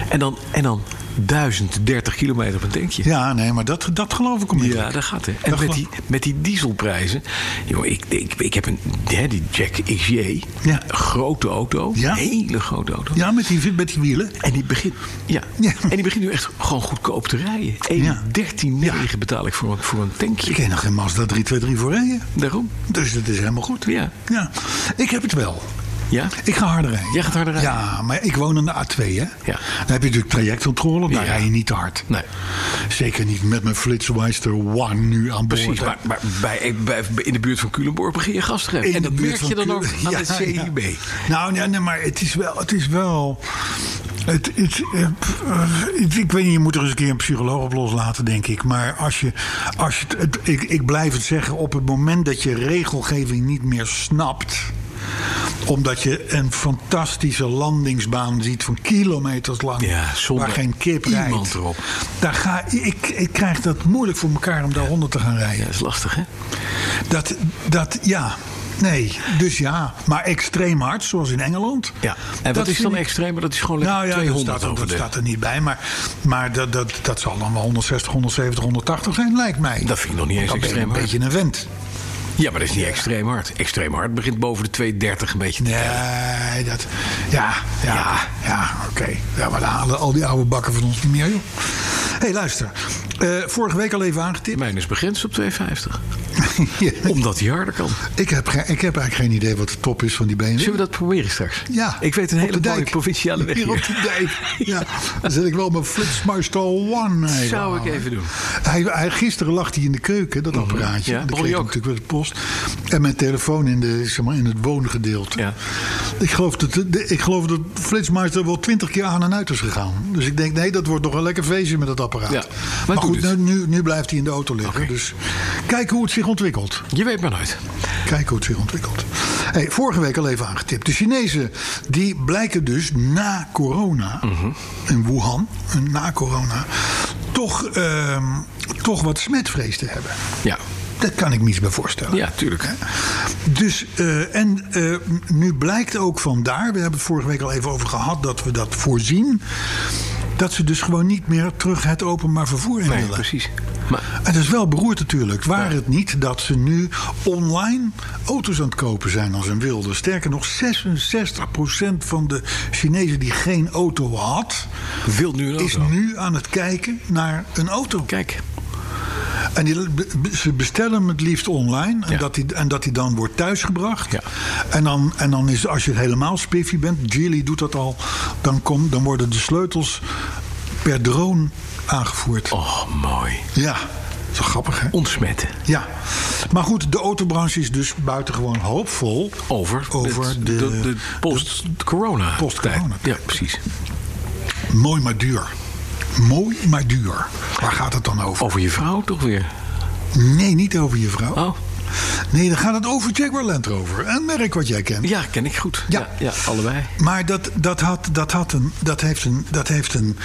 Speaker 4: En dan, en dan 1030 kilometer op een tankje.
Speaker 5: Ja, nee, maar dat, dat geloof ik om niet.
Speaker 4: Ja, daar gaat het. En met
Speaker 5: Dat geloof-
Speaker 4: die, met die dieselprijzen. Jongen, ik, ik, ik heb een hè, die Jack XJ.
Speaker 5: Ja.
Speaker 4: Een grote auto.
Speaker 5: Ja.
Speaker 4: Hele grote auto.
Speaker 5: Ja, met die, met die wielen.
Speaker 4: En die begint, ja.
Speaker 5: Ja.
Speaker 4: En die begint nu echt gewoon goedkoop te rijden. 1,
Speaker 5: Ja. nou.
Speaker 4: 13,9 betaal ik voor, een- voor een tankje.
Speaker 5: Ik ken nog geen Mazda 323 voor rijden.
Speaker 4: Daarom.
Speaker 5: Dus dat is helemaal goed.
Speaker 4: Ja.
Speaker 5: ja. Ik heb het wel.
Speaker 4: Ja.
Speaker 5: Ik ga harder rijden.
Speaker 4: Jij gaat harder rijden?
Speaker 5: Ja, maar ik woon aan de A2, hè? Dan heb je natuurlijk trajectcontrole, daar
Speaker 4: Ja.
Speaker 5: rij je niet te hard.
Speaker 4: Nee.
Speaker 5: Zeker niet met mijn Flitsmeister One nu aan boord.
Speaker 4: Precies,
Speaker 5: hè.
Speaker 4: maar, maar bij, bij, in de buurt van Culemborg begin je gas te geven.
Speaker 5: In
Speaker 4: En
Speaker 5: de
Speaker 4: dat
Speaker 5: buurt
Speaker 4: merk
Speaker 5: van
Speaker 4: je dan ook
Speaker 5: Keulen.
Speaker 4: aan
Speaker 5: Ja,
Speaker 4: het
Speaker 5: ja.
Speaker 4: CIB.
Speaker 5: Nou, nee, nee, maar het is wel... Het is wel het, het, eh, pff, eh, het- ik weet niet, je moet er eens een keer een psycholoog op loslaten, denk ik. Maar als je... Als je het, het- ik, ik blijf het zeggen, op het moment dat je regelgeving niet meer snapt omdat je een fantastische landingsbaan ziet van kilometers lang.
Speaker 4: Ja, zonder
Speaker 5: waar geen kip rijdt.
Speaker 4: iemand erop.
Speaker 5: Daar ga, ik, ik krijg dat moeilijk voor elkaar om daar honderd te gaan rijden.
Speaker 4: Dat is lastig, hè?
Speaker 5: Dat, dat, ja. Nee, dus ja. Maar extreem hard, zoals in Engeland.
Speaker 4: Ja. En
Speaker 5: Dat
Speaker 4: wat is
Speaker 5: vind
Speaker 4: dan
Speaker 5: ik-
Speaker 4: extreem? Maar Dat is gewoon
Speaker 5: Nou ja, dat
Speaker 4: 200
Speaker 5: staat, er-
Speaker 4: over
Speaker 5: dat
Speaker 4: de-
Speaker 5: staat er niet bij. Maar, maar dat, dat, dat zal dan wel 160, 170, 180 zijn, lijkt mij.
Speaker 4: Dat vind ik nog niet eens
Speaker 5: Dan ben je
Speaker 4: extreem
Speaker 5: een
Speaker 4: hard.
Speaker 5: beetje een vent.
Speaker 4: Ja, maar dat is niet extreem hard. Extreem hard begint boven de 230 een beetje. te-
Speaker 5: Nee, dat... Ja, ja,
Speaker 4: Ja.
Speaker 5: ja, oké. Ja, maar dan halen al die oude bakken van ons niet meer, joh. Hé, hey, luister. Eh, vorige week al even aangetipt.
Speaker 4: Mijn is begrensd op 2,50. Omdat die harder kan.
Speaker 5: Ik heb, geen- ik heb eigenlijk geen idee wat de top is van die benen.
Speaker 4: Zullen we dat proberen straks?
Speaker 5: Ja,
Speaker 4: Ik weet een
Speaker 5: op
Speaker 4: hele
Speaker 5: de
Speaker 4: mooie
Speaker 5: dijk.
Speaker 4: provinciale weg
Speaker 5: Hier op
Speaker 4: hier.
Speaker 5: de dijk. Ja, dan zet ik wel mijn Flitsmeister One even
Speaker 4: Zou ik
Speaker 5: aan.
Speaker 4: even doen. Mhm.
Speaker 5: Hij, hij, gisteren lag hij in de keuken, dat apparaatje.
Speaker 4: Ja,
Speaker 5: dat
Speaker 4: Bolly
Speaker 5: kreeg ik
Speaker 4: ook.
Speaker 5: natuurlijk met de post. En mijn telefoon in, de, zeg maar, in het woongedeelte.
Speaker 4: Ja.
Speaker 5: Ik geloof dat, de- de- ik geloof dat Flitsmeister wel twintig keer aan en uit is gegaan. Dus ik denk, nee, dat wordt nog een lekker feestje met dat apparaat.
Speaker 4: Ja,
Speaker 5: maar,
Speaker 4: maar doe
Speaker 5: goed,
Speaker 4: dus.
Speaker 5: nu, nu, nu blijft hij in de auto liggen.
Speaker 4: Oké.
Speaker 5: Dus kijken hoe het zich ontwikkelt.
Speaker 4: Je weet maar nooit.
Speaker 5: Kijken hoe het zich ontwikkelt. Hey, vorige week al even aangetipt. De Chinezen die blijken dus na corona, in Wuhan, en na corona, toch, ehm, toch wat smetvrees te hebben.
Speaker 4: Ja,
Speaker 5: Dat kan ik me iets bij voorstellen.
Speaker 4: ja tuurlijk.
Speaker 5: Dus, eh, en eh, nu blijkt ook vandaar, we hebben het vorige week al even over gehad dat we dat voorzien. Dat ze dus gewoon niet meer terug het openbaar vervoer in
Speaker 4: Nee,
Speaker 5: willen.
Speaker 4: precies. Maar
Speaker 5: Het is wel beroerd natuurlijk. Waar het niet dat ze nu online auto's aan het kopen zijn als een wilde. Sterker nog, 66% van de Chinezen die geen auto had...
Speaker 4: wil nu een
Speaker 5: is
Speaker 4: auto.
Speaker 5: nu aan het kijken naar een auto.
Speaker 4: Kijk,
Speaker 5: En die, be- be- ze bestellen hem het liefst online. En,
Speaker 4: Ja.
Speaker 5: dat, die, en dat die dan wordt thuisgebracht.
Speaker 4: Ja.
Speaker 5: En, dan, en dan is als je helemaal spiffy bent... Geely doet dat al. Dan, kom, dan worden de sleutels per drone aangevoerd.
Speaker 4: oh mooi.
Speaker 5: Ja, dat is wel grappig hè?
Speaker 4: Ontsmetten.
Speaker 5: Ja, maar goed, de autobranche is dus buitengewoon hoopvol.
Speaker 4: Over,
Speaker 5: Over
Speaker 4: het-
Speaker 5: de-
Speaker 4: de, de post-corona.
Speaker 5: Post-corona.
Speaker 4: tijd. Ja, precies.
Speaker 5: Mooi maar duur. Mooi maar duur. Waar gaat het dan over?
Speaker 4: Over je vrouw toch weer?
Speaker 5: Nee, niet over je vrouw.
Speaker 4: Oh,
Speaker 5: Nee, dan gaat het over Jaguar Land Rover. Een merk wat jij kent.
Speaker 4: ja, ken ik goed.
Speaker 5: Ja.
Speaker 4: ja, allebei.
Speaker 5: Maar dat, dat, had, dat, had een, dat heeft, een, dat heeft een,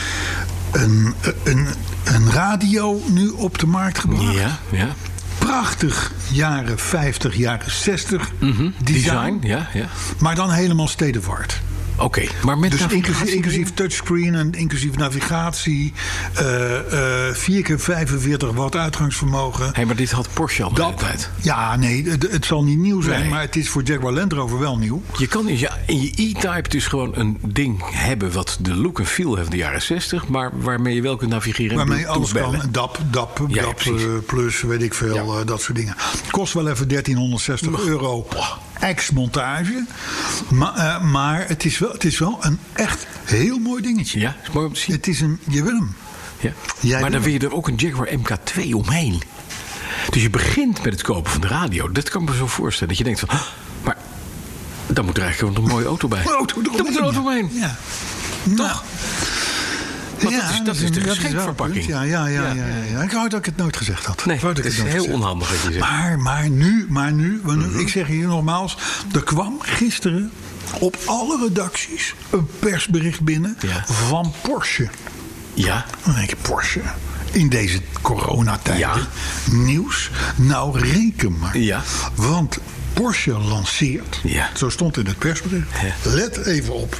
Speaker 5: een, een, een radio nu op de markt gebracht.
Speaker 4: Ja, ja.
Speaker 5: Prachtig jaren 50, jaren 60 design.
Speaker 4: Mhm. Design, ja, ja.
Speaker 5: Maar dan helemaal state of art.
Speaker 4: Oké, maar met
Speaker 5: Dus
Speaker 4: navigatie
Speaker 5: inclusief, inclusief touchscreen en inclusief navigatie, eh eh 4 keer 45 watt uitgangsvermogen.
Speaker 4: Hé, maar dit had Porsche al de hele tijd.
Speaker 5: Ja, nee, het, het zal niet nieuw zijn,
Speaker 4: Nee.
Speaker 5: maar het is voor Jaguar Land Rover wel nieuw.
Speaker 4: Je kan in je, in je e-type dus gewoon een ding hebben... wat de look en feel heeft van de jaren 60... maar waarmee je wel kunt navigeren en
Speaker 5: Waarmee je
Speaker 4: Bluetooth
Speaker 5: alles kan.
Speaker 4: bellen.
Speaker 5: En DAP, DAP,
Speaker 4: Ja,
Speaker 5: DAP
Speaker 4: precies.
Speaker 5: eh, Plus, weet ik veel, eh, dat soort dingen. Kost wel even 1360 euro ex-montage. Maar, eh, maar het, is wel, het is wel een echt heel mooi dingetje.
Speaker 4: Ja, is mooi om te zien.
Speaker 5: Het is een, je wil hem.
Speaker 4: Ja.
Speaker 5: Jij
Speaker 4: maar dan
Speaker 5: wil
Speaker 4: wil je er ook een Jaguar MK2 omheen. Dus je begint met het kopen van de radio. Dat kan ik me zo voorstellen. Dat je denkt van... "Ah, Maar dan moet er eigenlijk gewoon een mooie auto bij.
Speaker 5: Een auto
Speaker 4: dan moet er een auto omheen.
Speaker 5: Ja. Nou.
Speaker 4: Maar dat is- dat is de
Speaker 5: een- wel
Speaker 4: geschenkverpakking.
Speaker 5: een punt. Ja, ja, ja, ja, ja, ja. Ik wou dat ik het nooit gezegd had.
Speaker 4: Nee,
Speaker 5: Ik wou
Speaker 4: het
Speaker 5: dat ik
Speaker 4: is
Speaker 5: nooit
Speaker 4: heel
Speaker 5: gezegd
Speaker 4: onhandig wat je zegt. Mhm.
Speaker 5: Maar, maar nu, maar nu, maar nu ik zeg hier nogmaals, er kwam gisteren op alle redacties een persbericht binnen
Speaker 4: Ja.
Speaker 5: van Porsche.
Speaker 4: Ja,
Speaker 5: Dan denk je, Porsche, in deze coronatijden, nieuws? Nou, reken maar.
Speaker 4: Ja.
Speaker 5: Want Porsche lanceert,
Speaker 4: Ja.
Speaker 5: zo stond in het persbericht,
Speaker 4: Ja.
Speaker 5: let even op,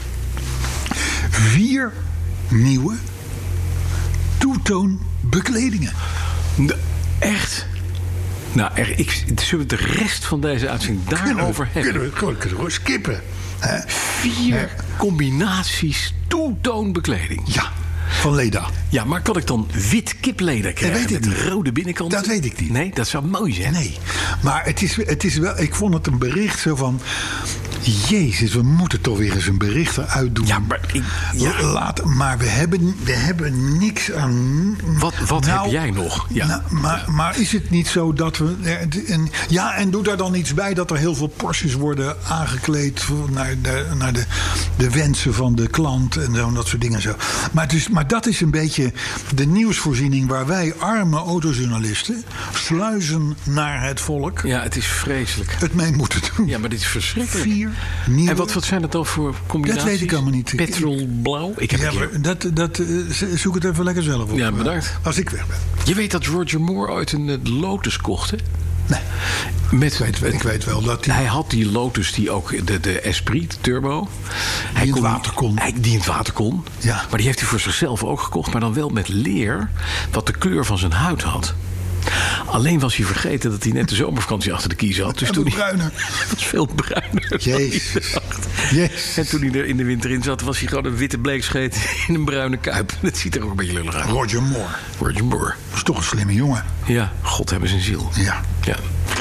Speaker 5: vier nieuwe toetoon bekledingen.
Speaker 4: De- echt? Nou, er, ik, zullen we de rest van deze uitzending daarover
Speaker 5: we, kunnen
Speaker 4: hebben?
Speaker 5: we, gewoon- kunnen we gewoon skippen. hè?
Speaker 4: Vier combinaties toetoonbekleding.
Speaker 5: Ja, van Leda.
Speaker 4: Ja, maar kan ik dan wit kipleder krijgen
Speaker 5: weet ik
Speaker 4: met
Speaker 5: niet.
Speaker 4: rode binnenkant?
Speaker 5: Dat weet ik niet.
Speaker 4: Nee, dat zou mooi zijn.
Speaker 5: Nee, E. maar het is, het is wel, ik vond het een bericht zo van... Jezus, we moeten toch weer eens een bericht eruit doen.
Speaker 4: Ja, maar ik- ja.
Speaker 5: Laat, maar we hebben, we hebben niks aan...
Speaker 4: Wat- wat
Speaker 5: Nou,
Speaker 4: heb jij nog? Ja.
Speaker 5: nou, maar, maar is het niet zo dat we... eh, en- ja, en doe daar dan iets bij dat er heel veel Porsches worden aangekleed... voor- naar de, naar de, de wensen van de klant en zo, en dat soort dingen. Zo. Maar, dus, maar dat is een beetje de nieuwsvoorziening... waar wij arme autojournalisten sluizen naar het volk...
Speaker 4: Ja, het is vreselijk.
Speaker 5: het mee moeten doen.
Speaker 4: Ja, maar dit is verschrikkelijk.
Speaker 5: Vier nieuwe...
Speaker 4: En wat, wat zijn het dan voor combinaties?
Speaker 5: Dat weet ik allemaal niet. Ik-
Speaker 4: Petrolblauw? Ik heb
Speaker 5: Ja,
Speaker 4: het hier.
Speaker 5: maar dat, dat, eh, z- zoek het even lekker zelf op.
Speaker 4: Ja, bedankt.
Speaker 5: Als ik weg ben.
Speaker 4: Je weet dat Roger Moore ooit een eh, Lotus kocht, hè?
Speaker 5: Nee,
Speaker 4: Met,
Speaker 5: ik weet, wel- ik weet wel dat die...
Speaker 4: Hij had die Lotus, die ook de, de Esprit, de Turbo. Hij
Speaker 5: in het water kon.
Speaker 4: Hij, die in het water kon.
Speaker 5: Ja.
Speaker 4: Maar die heeft hij voor zichzelf ook gekocht. Maar dan wel met leer, wat de kleur van zijn huid had. Alleen was hij vergeten dat hij net de zomervakantie achter de kiezen had. Dus
Speaker 5: En
Speaker 4: toen hij,
Speaker 5: bruiner.
Speaker 4: was veel bruiner. dan
Speaker 5: Jezus.
Speaker 4: hij dacht.
Speaker 5: Jezus.
Speaker 4: En toen hij er in de winter in zat, was hij gewoon een witte bleekscheet in een bruine kuip. Dat ziet er ook een beetje lullig uit.
Speaker 5: Roger Moore.
Speaker 4: Roger Moore.
Speaker 5: Dat is toch een slimme jongen.
Speaker 4: Ja, God hebben zijn ziel.
Speaker 5: Ja.
Speaker 4: Ja.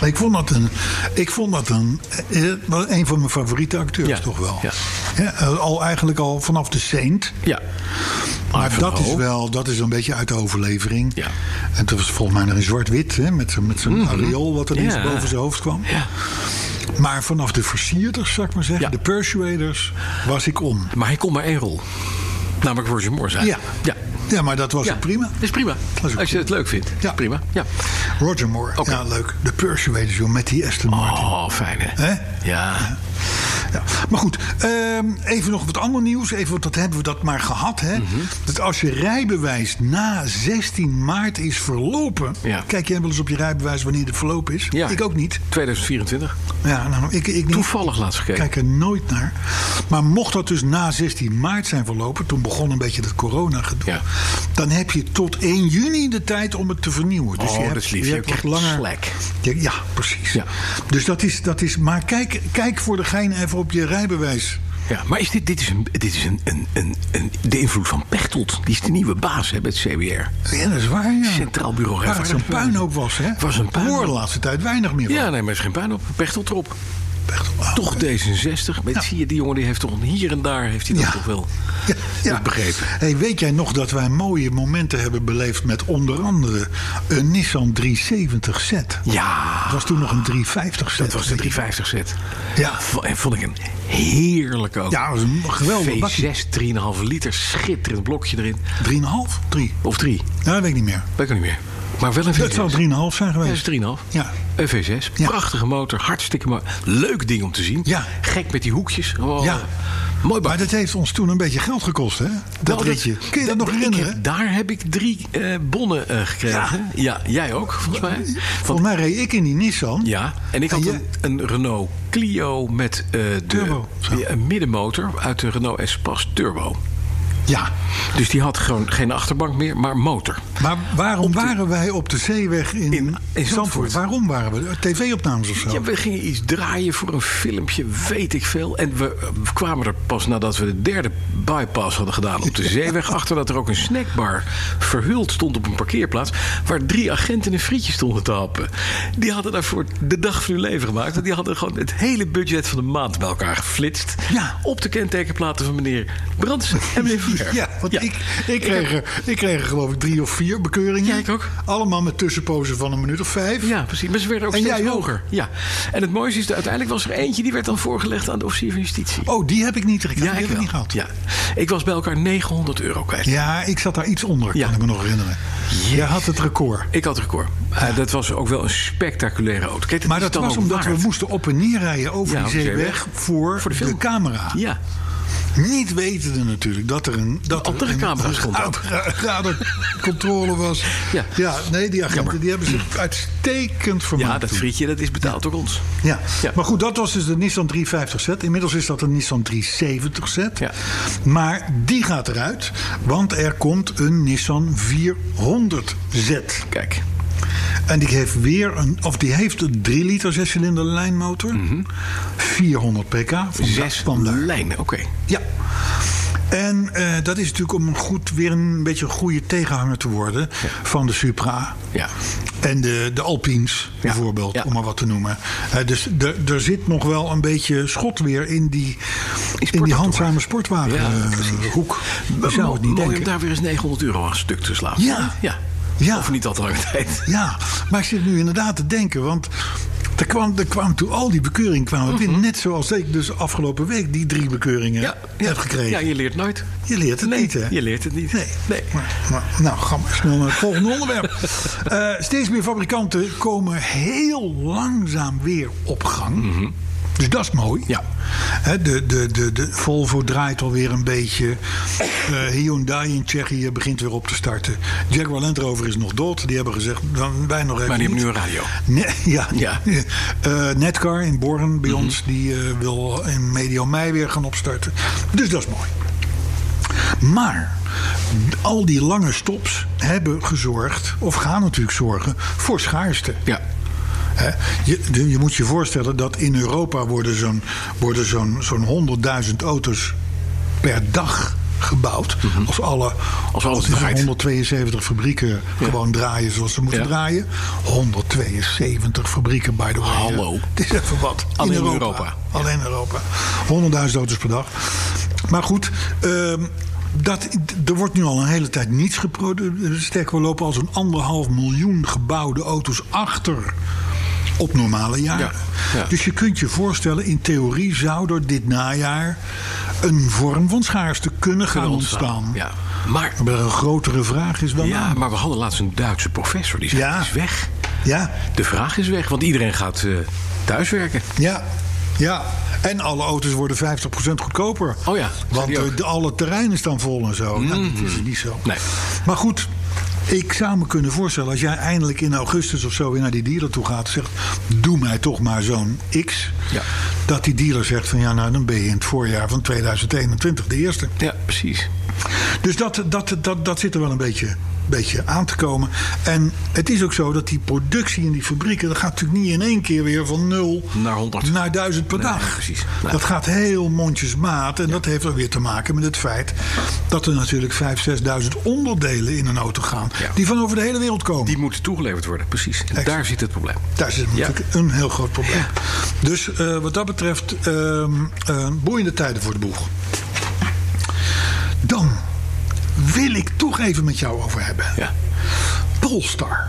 Speaker 5: Ik vond dat een, ik vond dat een, eh, wel een van mijn favoriete acteurs
Speaker 4: Ja,
Speaker 5: toch wel.
Speaker 4: ja.
Speaker 5: Ja, eh, al eigenlijk al vanaf de Saint.
Speaker 4: ja.
Speaker 5: Maar
Speaker 4: Ivanhoe.
Speaker 5: dat is wel, dat is een beetje uit de overlevering.
Speaker 4: Ja. Mhm.
Speaker 5: En toen was het volgens mij nog in zwart-wit, hè, met zijn met zijn areool wat ineens
Speaker 4: Ja.
Speaker 5: boven zijn hoofd kwam.
Speaker 4: Ja.
Speaker 5: Maar vanaf de versierders, zou ik maar zeggen,
Speaker 4: Ja.
Speaker 5: de persuaders, was ik om.
Speaker 4: Maar hij kon maar één rol. Namelijk Roger Moore zijn.
Speaker 5: Ja.
Speaker 4: Ja.
Speaker 5: Ja, maar dat was
Speaker 4: Ja.
Speaker 5: ook prima.
Speaker 4: Dat is prima.
Speaker 5: is ook
Speaker 4: Als je het leuk vindt.
Speaker 5: Ja.
Speaker 4: Prima. Ja.
Speaker 5: Roger Moore,
Speaker 4: Oké.
Speaker 5: ja leuk. De persuaders, joh, met die Aston Martin.
Speaker 4: Oh, fijn hè?
Speaker 5: Hè?
Speaker 4: Ja.
Speaker 5: Ja. Maar goed, ehm, even nog wat ander nieuws. Even, want dat hebben we dat maar gehad. Hè?
Speaker 4: Mhm.
Speaker 5: Dat als je rijbewijs na 16 maart is verlopen.
Speaker 4: Ja.
Speaker 5: Kijk jij wel eens op je rijbewijs wanneer het verlopen is?
Speaker 4: Ja.
Speaker 5: Ik ook niet.
Speaker 4: 2024.
Speaker 5: Ja, nou, ik, ik niet.
Speaker 4: Toevallig laatst
Speaker 5: Ik
Speaker 4: gekeken.
Speaker 5: kijk er nooit naar. Maar mocht dat dus na 16 maart zijn verlopen, toen begon een beetje dat corona-gedoe.
Speaker 4: Ja.
Speaker 5: Dan heb je tot 1 juni de tijd om het te vernieuwen. Dus
Speaker 4: Oh,
Speaker 5: je hebt,
Speaker 4: dat is lief.
Speaker 5: Je
Speaker 4: Je
Speaker 5: hebt wat
Speaker 4: krijgt
Speaker 5: langer.
Speaker 4: slack.
Speaker 5: Ja, ja, precies.
Speaker 4: Ja.
Speaker 5: Dus dat is, dat is. Maar kijk, kijk voor de gein even op je rijbewijs.
Speaker 4: Ja, maar is dit, dit is, een, dit is een, een, een, een- de invloed van Pechtold. Die is de nieuwe baas hè, bij het CBR.
Speaker 5: Ja, dat is waar. Ja.
Speaker 4: Centraal Bureau
Speaker 5: Waar het zo'n
Speaker 4: Rijvaardigheidsbewijs.
Speaker 5: puinhoop was, hè?
Speaker 4: Was een puinhoop.
Speaker 5: Hoor de laatste tijd weinig meer.
Speaker 4: Ja, nee, maar er is geen puin op. Pechtold erop.
Speaker 5: Echt, ah.
Speaker 4: Toch D66. Maar Zie je, die jongen die heeft toch hier en daar heeft hij dat
Speaker 5: Ja.
Speaker 4: toch wel
Speaker 5: Ja, ja.
Speaker 4: goed begrepen.
Speaker 5: Hey, weet jij nog dat wij mooie momenten hebben beleefd met onder andere een Nissan 370Z?
Speaker 4: Ja,
Speaker 5: Het was toen nog een 350Z.
Speaker 4: dat was de 350 set.
Speaker 5: Ja.
Speaker 4: V- En vond ik een heerlijke ook.
Speaker 5: Ja, dat was een geweldige bakkie.
Speaker 4: V6, 3,5 liter. Schitterend blokje erin.
Speaker 5: 3,5? 3?
Speaker 4: Of 3.
Speaker 5: Nou, dat weet ik niet meer.
Speaker 4: Weet ik niet meer. Maar wel een V6.
Speaker 5: Het zou 3,5 zijn
Speaker 4: Ja,
Speaker 5: geweest.
Speaker 4: dat is 3,5.
Speaker 5: Ja.
Speaker 4: Een V6.
Speaker 5: Ja.
Speaker 4: Prachtige motor. Hartstikke mooi. Leuk ding om te zien.
Speaker 5: Ja.
Speaker 4: Gek met die hoekjes. Gewoon,
Speaker 5: Ja.
Speaker 4: eh, Mooi
Speaker 5: Maar
Speaker 4: bak.
Speaker 5: dat heeft ons toen een beetje geld gekost, hè? Dat
Speaker 4: Nou,
Speaker 5: ritje. Kun je dat nog
Speaker 4: ik
Speaker 5: herinneren?
Speaker 4: heb- daar heb ik drie eh, bonnen eh, gekregen. Ja. jij ook, volgens mij. Want-
Speaker 5: Volgens mij reed ik in die Nissan.
Speaker 4: ja, en ik had
Speaker 5: En je-
Speaker 4: een, een Renault Clio met eh, de,
Speaker 5: Turbo, zo.
Speaker 4: ja, een middenmotor uit de Renault Espace Turbo.
Speaker 5: Ja.
Speaker 4: Dus die had gewoon geen achterbank meer, maar motor.
Speaker 5: Maar waarom waren wij op de zeeweg in,
Speaker 4: in
Speaker 5: Zandvoort?
Speaker 4: Zandvoort?
Speaker 5: Waarom waren we? TV-opnames of zo?
Speaker 4: Ja, we gingen iets draaien voor een filmpje, weet ik veel. En we, eh, we kwamen er pas nadat we de derde bypass hadden gedaan op de zeeweg. Achter dat er ook een snackbar verhuld stond op een parkeerplaats. Waar drie agenten een frietje stonden te happen. Die hadden daarvoor de dag van hun leven gemaakt. En die hadden gewoon het hele budget van de maand bij elkaar geflitst.
Speaker 5: Ja.
Speaker 4: Op de kentekenplaten van meneer Brandsen en meneer Van Werf.
Speaker 5: Ja, want Ik, ik, kreeg er, ik kreeg er geloof ik drie of vier bekeuringen.
Speaker 4: Ja, ik ook.
Speaker 5: Allemaal met tussenpozen van een minuut of vijf.
Speaker 4: Ja, precies. Maar ze werden ook
Speaker 5: En
Speaker 4: steeds
Speaker 5: jij ook.
Speaker 4: hoger. Ja. En het mooiste is, dat uiteindelijk was er eentje... die werd dan voorgelegd aan de officier van justitie.
Speaker 5: Oh, die heb ik niet gekregen. die heb ik
Speaker 4: wel.
Speaker 5: niet gehad.
Speaker 4: Ja. Ik was bij elkaar 900 euro kwijt.
Speaker 5: Ja, ik zat daar iets onder,
Speaker 4: Ja.
Speaker 5: kan ik me nog herinneren. Jij had het record.
Speaker 4: Ik had het record. Eh, dat was ook wel een spectaculaire auto. Kijk,
Speaker 5: Maar
Speaker 4: is
Speaker 5: dat
Speaker 4: dan
Speaker 5: was
Speaker 4: ook
Speaker 5: omdat
Speaker 4: waard.
Speaker 5: we moesten op en neer rijden over
Speaker 4: Ja,
Speaker 5: die
Speaker 4: op de
Speaker 5: zeeweg
Speaker 4: zeeweg.
Speaker 5: voor,
Speaker 4: Voor de
Speaker 5: de,
Speaker 4: film.
Speaker 5: camera.
Speaker 4: Ja,
Speaker 5: Niet wetende natuurlijk dat er een... Dat
Speaker 4: Andere
Speaker 5: er een,
Speaker 4: camera's stond ook.
Speaker 5: controle was. Ja.
Speaker 4: Ja.
Speaker 5: nee, die agenten
Speaker 4: Jammer.
Speaker 5: die hebben zich uitstekend vermaakt.
Speaker 4: ja dat
Speaker 5: toen.
Speaker 4: frietje dat is betaald door ons.
Speaker 5: Ja.
Speaker 4: Ja.
Speaker 5: maar goed, dat was dus de Nissan 350Z. Inmiddels is dat een Nissan 370Z.
Speaker 4: Ja.
Speaker 5: Maar die gaat eruit, want er komt een Nissan 400Z.
Speaker 4: Kijk.
Speaker 5: En die heeft weer een, of die heeft een 3 liter 6 cilinder lijnmotor. 400 pk. Van
Speaker 4: Mhm. Zes lijnen, oké.
Speaker 5: Ja. En eh, dat is natuurlijk om een goed, weer een beetje een goede tegenhanger te worden van de Supra.
Speaker 4: Ja.
Speaker 5: En de, de Alpines bijvoorbeeld,
Speaker 4: Ja.
Speaker 5: om maar wat te noemen. Hè, dus d- er zit nog wel een beetje schot weer in die, in die
Speaker 4: sportauto.
Speaker 5: handzame sportwagenhoek. Je zou het niet
Speaker 4: Mooi
Speaker 5: denken.
Speaker 4: om daar weer eens 900 euro aan stuk te slaan.
Speaker 5: Ja.
Speaker 4: ja.
Speaker 5: Ja.
Speaker 4: Of niet al te lange tijd.
Speaker 5: Ja, maar ik zit nu inderdaad te denken, want er kwam, er kwam toen al die bekeuringen kwamen binnen. Net zoals ik dus afgelopen week die drie bekeuringen heb gekregen.
Speaker 4: Mhm. Ja, je leert nooit.
Speaker 5: Je leert het
Speaker 4: Nee,
Speaker 5: niet, hè?
Speaker 4: je leert het niet.
Speaker 5: Nee.
Speaker 4: Nee.
Speaker 5: Maar, maar- nou, gaan we snel naar het volgende onderwerp. Eh, steeds meer fabrikanten komen heel langzaam weer op gang. Dus dat is mooi.
Speaker 4: Mhm. Ja.
Speaker 5: Hè, de, de, de, de Volvo draait alweer een beetje. Eh, Hyundai in Tsjechië begint weer op te starten. Jaguar Land Rover is nog dood. Die hebben gezegd, dan, wij nog even
Speaker 4: Maar die
Speaker 5: niet.
Speaker 4: hebben nu een radio.
Speaker 5: Nee, ja.
Speaker 4: Ja.
Speaker 5: Eh, Netcar in Born bij ons, die eh, wil in medio mei weer gaan opstarten. Dus dat is mooi. Maar al die lange stops hebben gezorgd, of gaan natuurlijk zorgen, voor schaarste.
Speaker 4: Ja.
Speaker 5: Hè? Je, de- je moet je voorstellen dat in Europa worden zo'n worden zo'n zo'n 100.000 auto's per dag gebouwd. Als alle,
Speaker 4: Mhm. Als alles
Speaker 5: die
Speaker 4: draait.
Speaker 5: 172 fabrieken gewoon draaien zoals ze moeten
Speaker 4: Ja.
Speaker 5: draaien. 172 fabrieken, by the way.
Speaker 4: Hallo.
Speaker 5: Het is even wat.
Speaker 4: Alleen in
Speaker 5: in
Speaker 4: Europa.
Speaker 5: Alleen in Europa. 100.000 auto's per dag. Maar goed, ehm, dat, er wordt nu al een hele tijd niets geproduceerd. Sterker, we lopen al zo'n anderhalf miljoen gebouwde auto's achter op normale jaren.
Speaker 4: Ja, ja.
Speaker 5: Dus je kunt je voorstellen, in theorie zou er dit najaar een vorm van schaarste kunnen gaan ontstaan.
Speaker 4: Ja. Maar,
Speaker 5: Maar een grotere vraag is nou, wel.
Speaker 4: ja, maar we hadden laatst een Duitse professor. Die zei,
Speaker 5: Ja.
Speaker 4: "Het is weg.
Speaker 5: ja,
Speaker 4: De vraag is weg, want iedereen gaat eh, thuiswerken.
Speaker 5: ja, ja. En alle auto's worden 50% goedkoper.
Speaker 4: Oh ja, zei
Speaker 5: Want
Speaker 4: die ook.
Speaker 5: eh, de- alle terreinen staan vol en zo. Nou, dat is niet zo.
Speaker 4: Nee.
Speaker 5: Maar goed, ik zou me kunnen voorstellen... als jij eindelijk in augustus of zo weer naar die dealer toe gaat... en zegt, doe mij toch maar zo'n X.
Speaker 4: Ja.
Speaker 5: Dat die dealer zegt van... ja, nou, dan ben je in het voorjaar van 2021 de eerste.
Speaker 4: Ja, precies.
Speaker 5: Dus dat, dat, dat, dat zit er wel een beetje, beetje aan te komen. En het is ook zo dat die productie in die fabrieken... dat gaat natuurlijk niet in één keer weer van nul
Speaker 4: Naar 100.
Speaker 5: naar 1000 per
Speaker 4: Nee,
Speaker 5: dag.
Speaker 4: precies. Nee.
Speaker 5: Dat gaat heel mondjesmaat. En dat heeft ook weer te maken met het feit... dat er natuurlijk 5.000, 6.000 onderdelen in een auto gaan...
Speaker 4: Ja.
Speaker 5: die van over de hele wereld komen.
Speaker 4: Die moeten toegeleverd worden, precies. En
Speaker 5: Exact.
Speaker 4: Daar zit het probleem.
Speaker 5: Daar zit
Speaker 4: Ja.
Speaker 5: natuurlijk een heel groot probleem. Dus eh, wat dat betreft, ehm, eh, boeiende tijden voor de boeg. Dan wil ik toch even met jou over hebben.
Speaker 4: Ja.
Speaker 5: Polestar.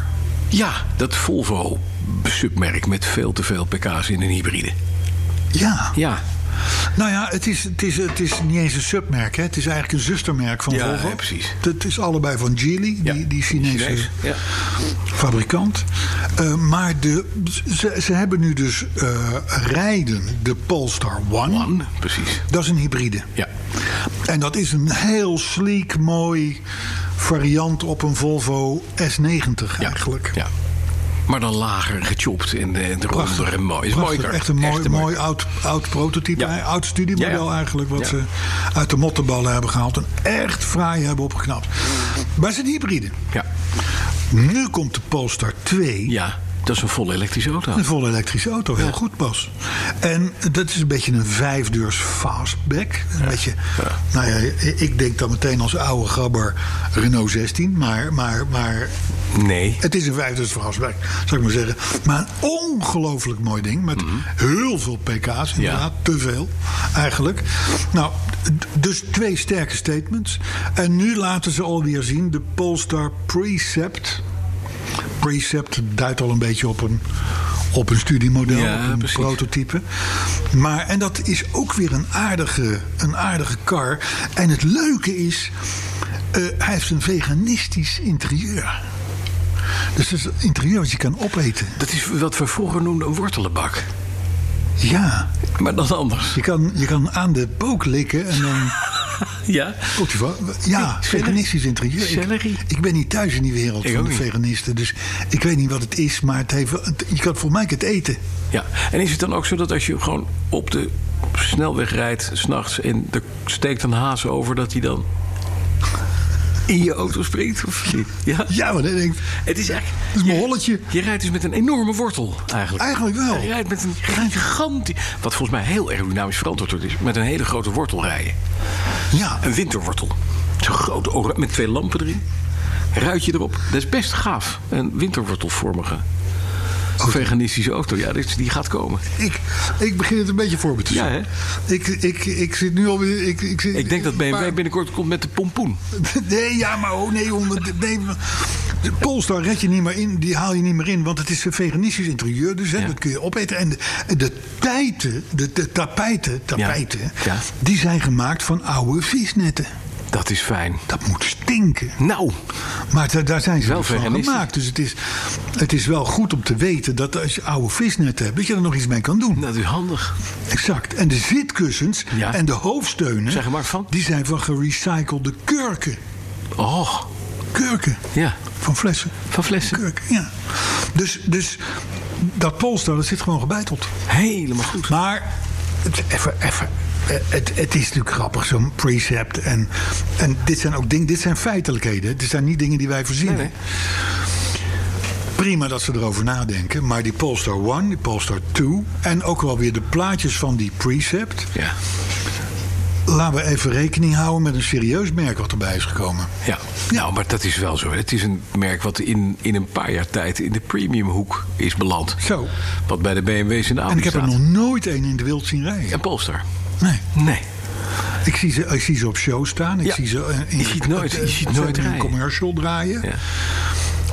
Speaker 4: Ja, dat Volvo-submerk met veel te veel pk's in een hybride.
Speaker 5: Ja.
Speaker 4: Ja,
Speaker 5: Nou ja, het is, het, is, het is niet eens een submerk. Hè. Het is eigenlijk een zustermerk van
Speaker 4: Ja,
Speaker 5: Volvo.
Speaker 4: ja, precies.
Speaker 5: Het is allebei van Geely,
Speaker 4: Ja.
Speaker 5: die, eh. die Chinese
Speaker 4: Chinees. Ja.
Speaker 5: fabrikant. Eh, maar de, ze, ze hebben nu dus eh, rijden de Polestar One.
Speaker 4: One, precies.
Speaker 5: Dat is een hybride.
Speaker 4: Ja.
Speaker 5: En dat is een heel sleek, mooi variant op een Volvo S90
Speaker 4: Ja.
Speaker 5: eigenlijk.
Speaker 4: Ja. Maar dan lager, gechopt en, eh, en ronder en mooi. Is
Speaker 5: Prachtig,
Speaker 4: mooier.
Speaker 5: echt een mooi, mooi,
Speaker 4: mooie
Speaker 5: oud, oud prototype,
Speaker 4: Ja.
Speaker 5: hè, oud studiemodel
Speaker 4: Ja, ja.
Speaker 5: eigenlijk... wat
Speaker 4: Ja.
Speaker 5: ze uit de mottenballen hebben gehaald en echt fraai hebben opgeknapt. Maar het is een hybride.
Speaker 4: Ja.
Speaker 5: Nu komt de Polestar 2,
Speaker 4: ja, dat is een vol elektrische auto.
Speaker 5: een volle elektrische auto, heel goed pas. En dat is een beetje een vijfdeurs fastback. Een beetje, nou ja, ik denk dan meteen als oude gabber Renault 16... maar, maar, maar
Speaker 4: Nee.
Speaker 5: Het is een vijfdeurs vergaswerk, zou ik maar zeggen. Maar een ongelooflijk mooi ding. Met heel veel pk's, inderdaad. Te veel, eigenlijk. Nou, d- dus twee sterke statements. En nu laten ze alweer zien de Polestar Precept. Precept duidt al een beetje op een, op een studiemodel,
Speaker 4: Ja,
Speaker 5: op een
Speaker 4: precies.
Speaker 5: prototype. Maar, en dat is ook weer een aardige, een aardige car. En het leuke is, eh, hij heeft een veganistisch interieur. Dus het is een interieur wat je kan opeten.
Speaker 4: Dat is wat we vroeger noemden een wortelenbak.
Speaker 5: Ja,
Speaker 4: Maar dan anders.
Speaker 5: je kan, je kan aan de pook likken en dan...
Speaker 4: Ja.
Speaker 5: Komt ie van? Ja, veganistisch interieur.
Speaker 4: Celery.
Speaker 5: Ik, ik ben niet thuis in die wereld
Speaker 4: Ik
Speaker 5: van
Speaker 4: ook
Speaker 5: de
Speaker 4: niet.
Speaker 5: veganisten. Dus ik weet niet wat het is, maar het heeft, wel- het- je kan volgens mij het eten.
Speaker 4: Ja, en is het dan ook zo dat als je gewoon op de snelweg rijdt, s'nachts en er steekt een haas over, dat hij dan in je auto springt? Of niet? Ja.
Speaker 5: Ja, maar dan denk ik,
Speaker 4: Het is echt.
Speaker 5: het is mijn holletje.
Speaker 4: Je rijdt dus met een enorme wortel eigenlijk.
Speaker 5: Eigenlijk wel.
Speaker 4: Je rijdt met een gigantisch. Wat volgens mij heel aerodynamisch verantwoord is. Met een hele grote wortel rijden.
Speaker 5: Ja,
Speaker 4: Een winterwortel. Zo'n grote ora- met twee lampen erin. Ruitje erop. Dat is best gaaf. Een winterwortelvormige. Veganistische auto. Ja, dit- die gaat komen.
Speaker 5: ik, ik begin het een beetje voor me te
Speaker 4: Ja,
Speaker 5: zien.
Speaker 4: hè?
Speaker 5: ik, ik, ik zit nu alweer... Ik, ik, zit,
Speaker 4: Ik denk dat BMW binnenkort komt met de pompoen.
Speaker 5: Nee, ja, maar oh, nee, onder, nee. De Polestar red je niet meer in, die haal je niet meer in, want het is een veganistisch interieur, dus hè,
Speaker 4: Ja.
Speaker 5: dat kun je opeten. En de, de tijten, de, de tapijten, tapijten
Speaker 4: Ja.
Speaker 5: die zijn gemaakt van oude visnetten.
Speaker 4: Dat is fijn.
Speaker 5: Dat moet stinken.
Speaker 4: Nou,
Speaker 5: Maar da- daar zijn ze
Speaker 4: Wel
Speaker 5: dus van
Speaker 4: veganistisch.
Speaker 5: gemaakt. Dus het is, het is wel goed om te weten dat als je oude visnetten hebt, dat je er nog iets mee kan doen.
Speaker 4: dat is handig.
Speaker 5: Exact. En de zitkussens
Speaker 4: Ja.
Speaker 5: en de hoofdsteunen,
Speaker 4: Zijn gemaakt van?
Speaker 5: die zijn van gerecyclede kurken.
Speaker 4: Oh,
Speaker 5: Kurken.
Speaker 4: ja.
Speaker 5: Van flessen.
Speaker 4: Van flessen.
Speaker 5: Kurk, ja. Dus, dus dat Polestar, dat zit gewoon gebeiteld.
Speaker 4: Helemaal goed.
Speaker 5: Maar het- even, even, eh, het, het is natuurlijk grappig, zo'n precept. En, en dit zijn ook dingen, dit zijn feitelijkheden. Dit zijn niet dingen die wij verzinnen. Prima dat ze erover nadenken, maar die Polestar 1, die Polestar 2 en ook wel weer de plaatjes van die precept.
Speaker 4: Ja.
Speaker 5: Laten we even rekening houden met een serieus merk wat erbij is gekomen.
Speaker 4: Ja. nou, maar dat is wel zo. hè. Het is een merk wat in, in een paar jaar tijd in de premiumhoek is beland.
Speaker 5: Zo.
Speaker 4: Wat bij de BMW's in de
Speaker 5: En
Speaker 4: Audi
Speaker 5: ik heb er
Speaker 4: staat.
Speaker 5: nog nooit één in de wild zien rijden.
Speaker 4: Een Polestar.
Speaker 5: Nee.
Speaker 4: Nee.
Speaker 5: Ik zie, ze, ik zie ze op show staan. Ik
Speaker 4: Ja.
Speaker 5: zie ze in,
Speaker 4: Je ziet nooit- je
Speaker 5: eh,
Speaker 4: ziet
Speaker 5: ze
Speaker 4: nooit
Speaker 5: in een
Speaker 4: rijden.
Speaker 5: commercial draaien.
Speaker 4: Ja.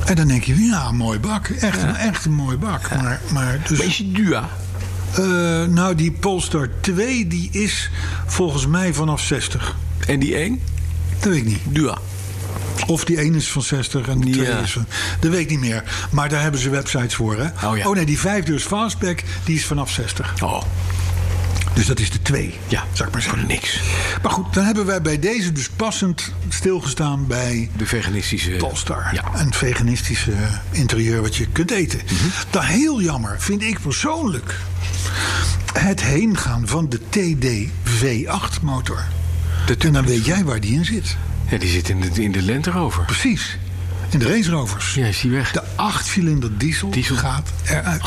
Speaker 5: En dan denk je, ja, een mooi bak. Echt, een, echt een mooi bak. Maar, maar dus,
Speaker 4: Maar is je Dua?
Speaker 5: eh, nou, die Polestar 2 die is volgens mij vanaf 60.
Speaker 4: En die één?
Speaker 5: Dat weet ik niet.
Speaker 4: Dua.
Speaker 5: Of die ene is van 60 en de
Speaker 4: Ja.
Speaker 5: tweede is van... Dat weet ik niet meer. Maar daar hebben ze websites voor, hè?
Speaker 4: Oh ja.
Speaker 5: nee, die vijfdeurs fastback, die is vanaf 60.
Speaker 4: Oh,
Speaker 5: Dus dat is de 2,
Speaker 4: ja.
Speaker 5: zou ik maar
Speaker 4: Voor
Speaker 5: zeggen.
Speaker 4: niks.
Speaker 5: Maar goed, dan hebben wij bij deze dus passend stilgestaan bij
Speaker 4: De veganistische...
Speaker 5: Polestar.
Speaker 4: Ja. Mhm.
Speaker 5: Een veganistische interieur wat je kunt eten. Dat heel jammer, vind ik persoonlijk. Het heengaan van de TD-V8 motor. en dan weet jij waar die in zit.
Speaker 4: Ja, die zit in de, in de Land Rover.
Speaker 5: Precies. In de Range Rovers.
Speaker 4: Ja, is die weg.
Speaker 5: De achtcilinder diesel,
Speaker 4: Diesel. Ah.
Speaker 5: gaat eruit.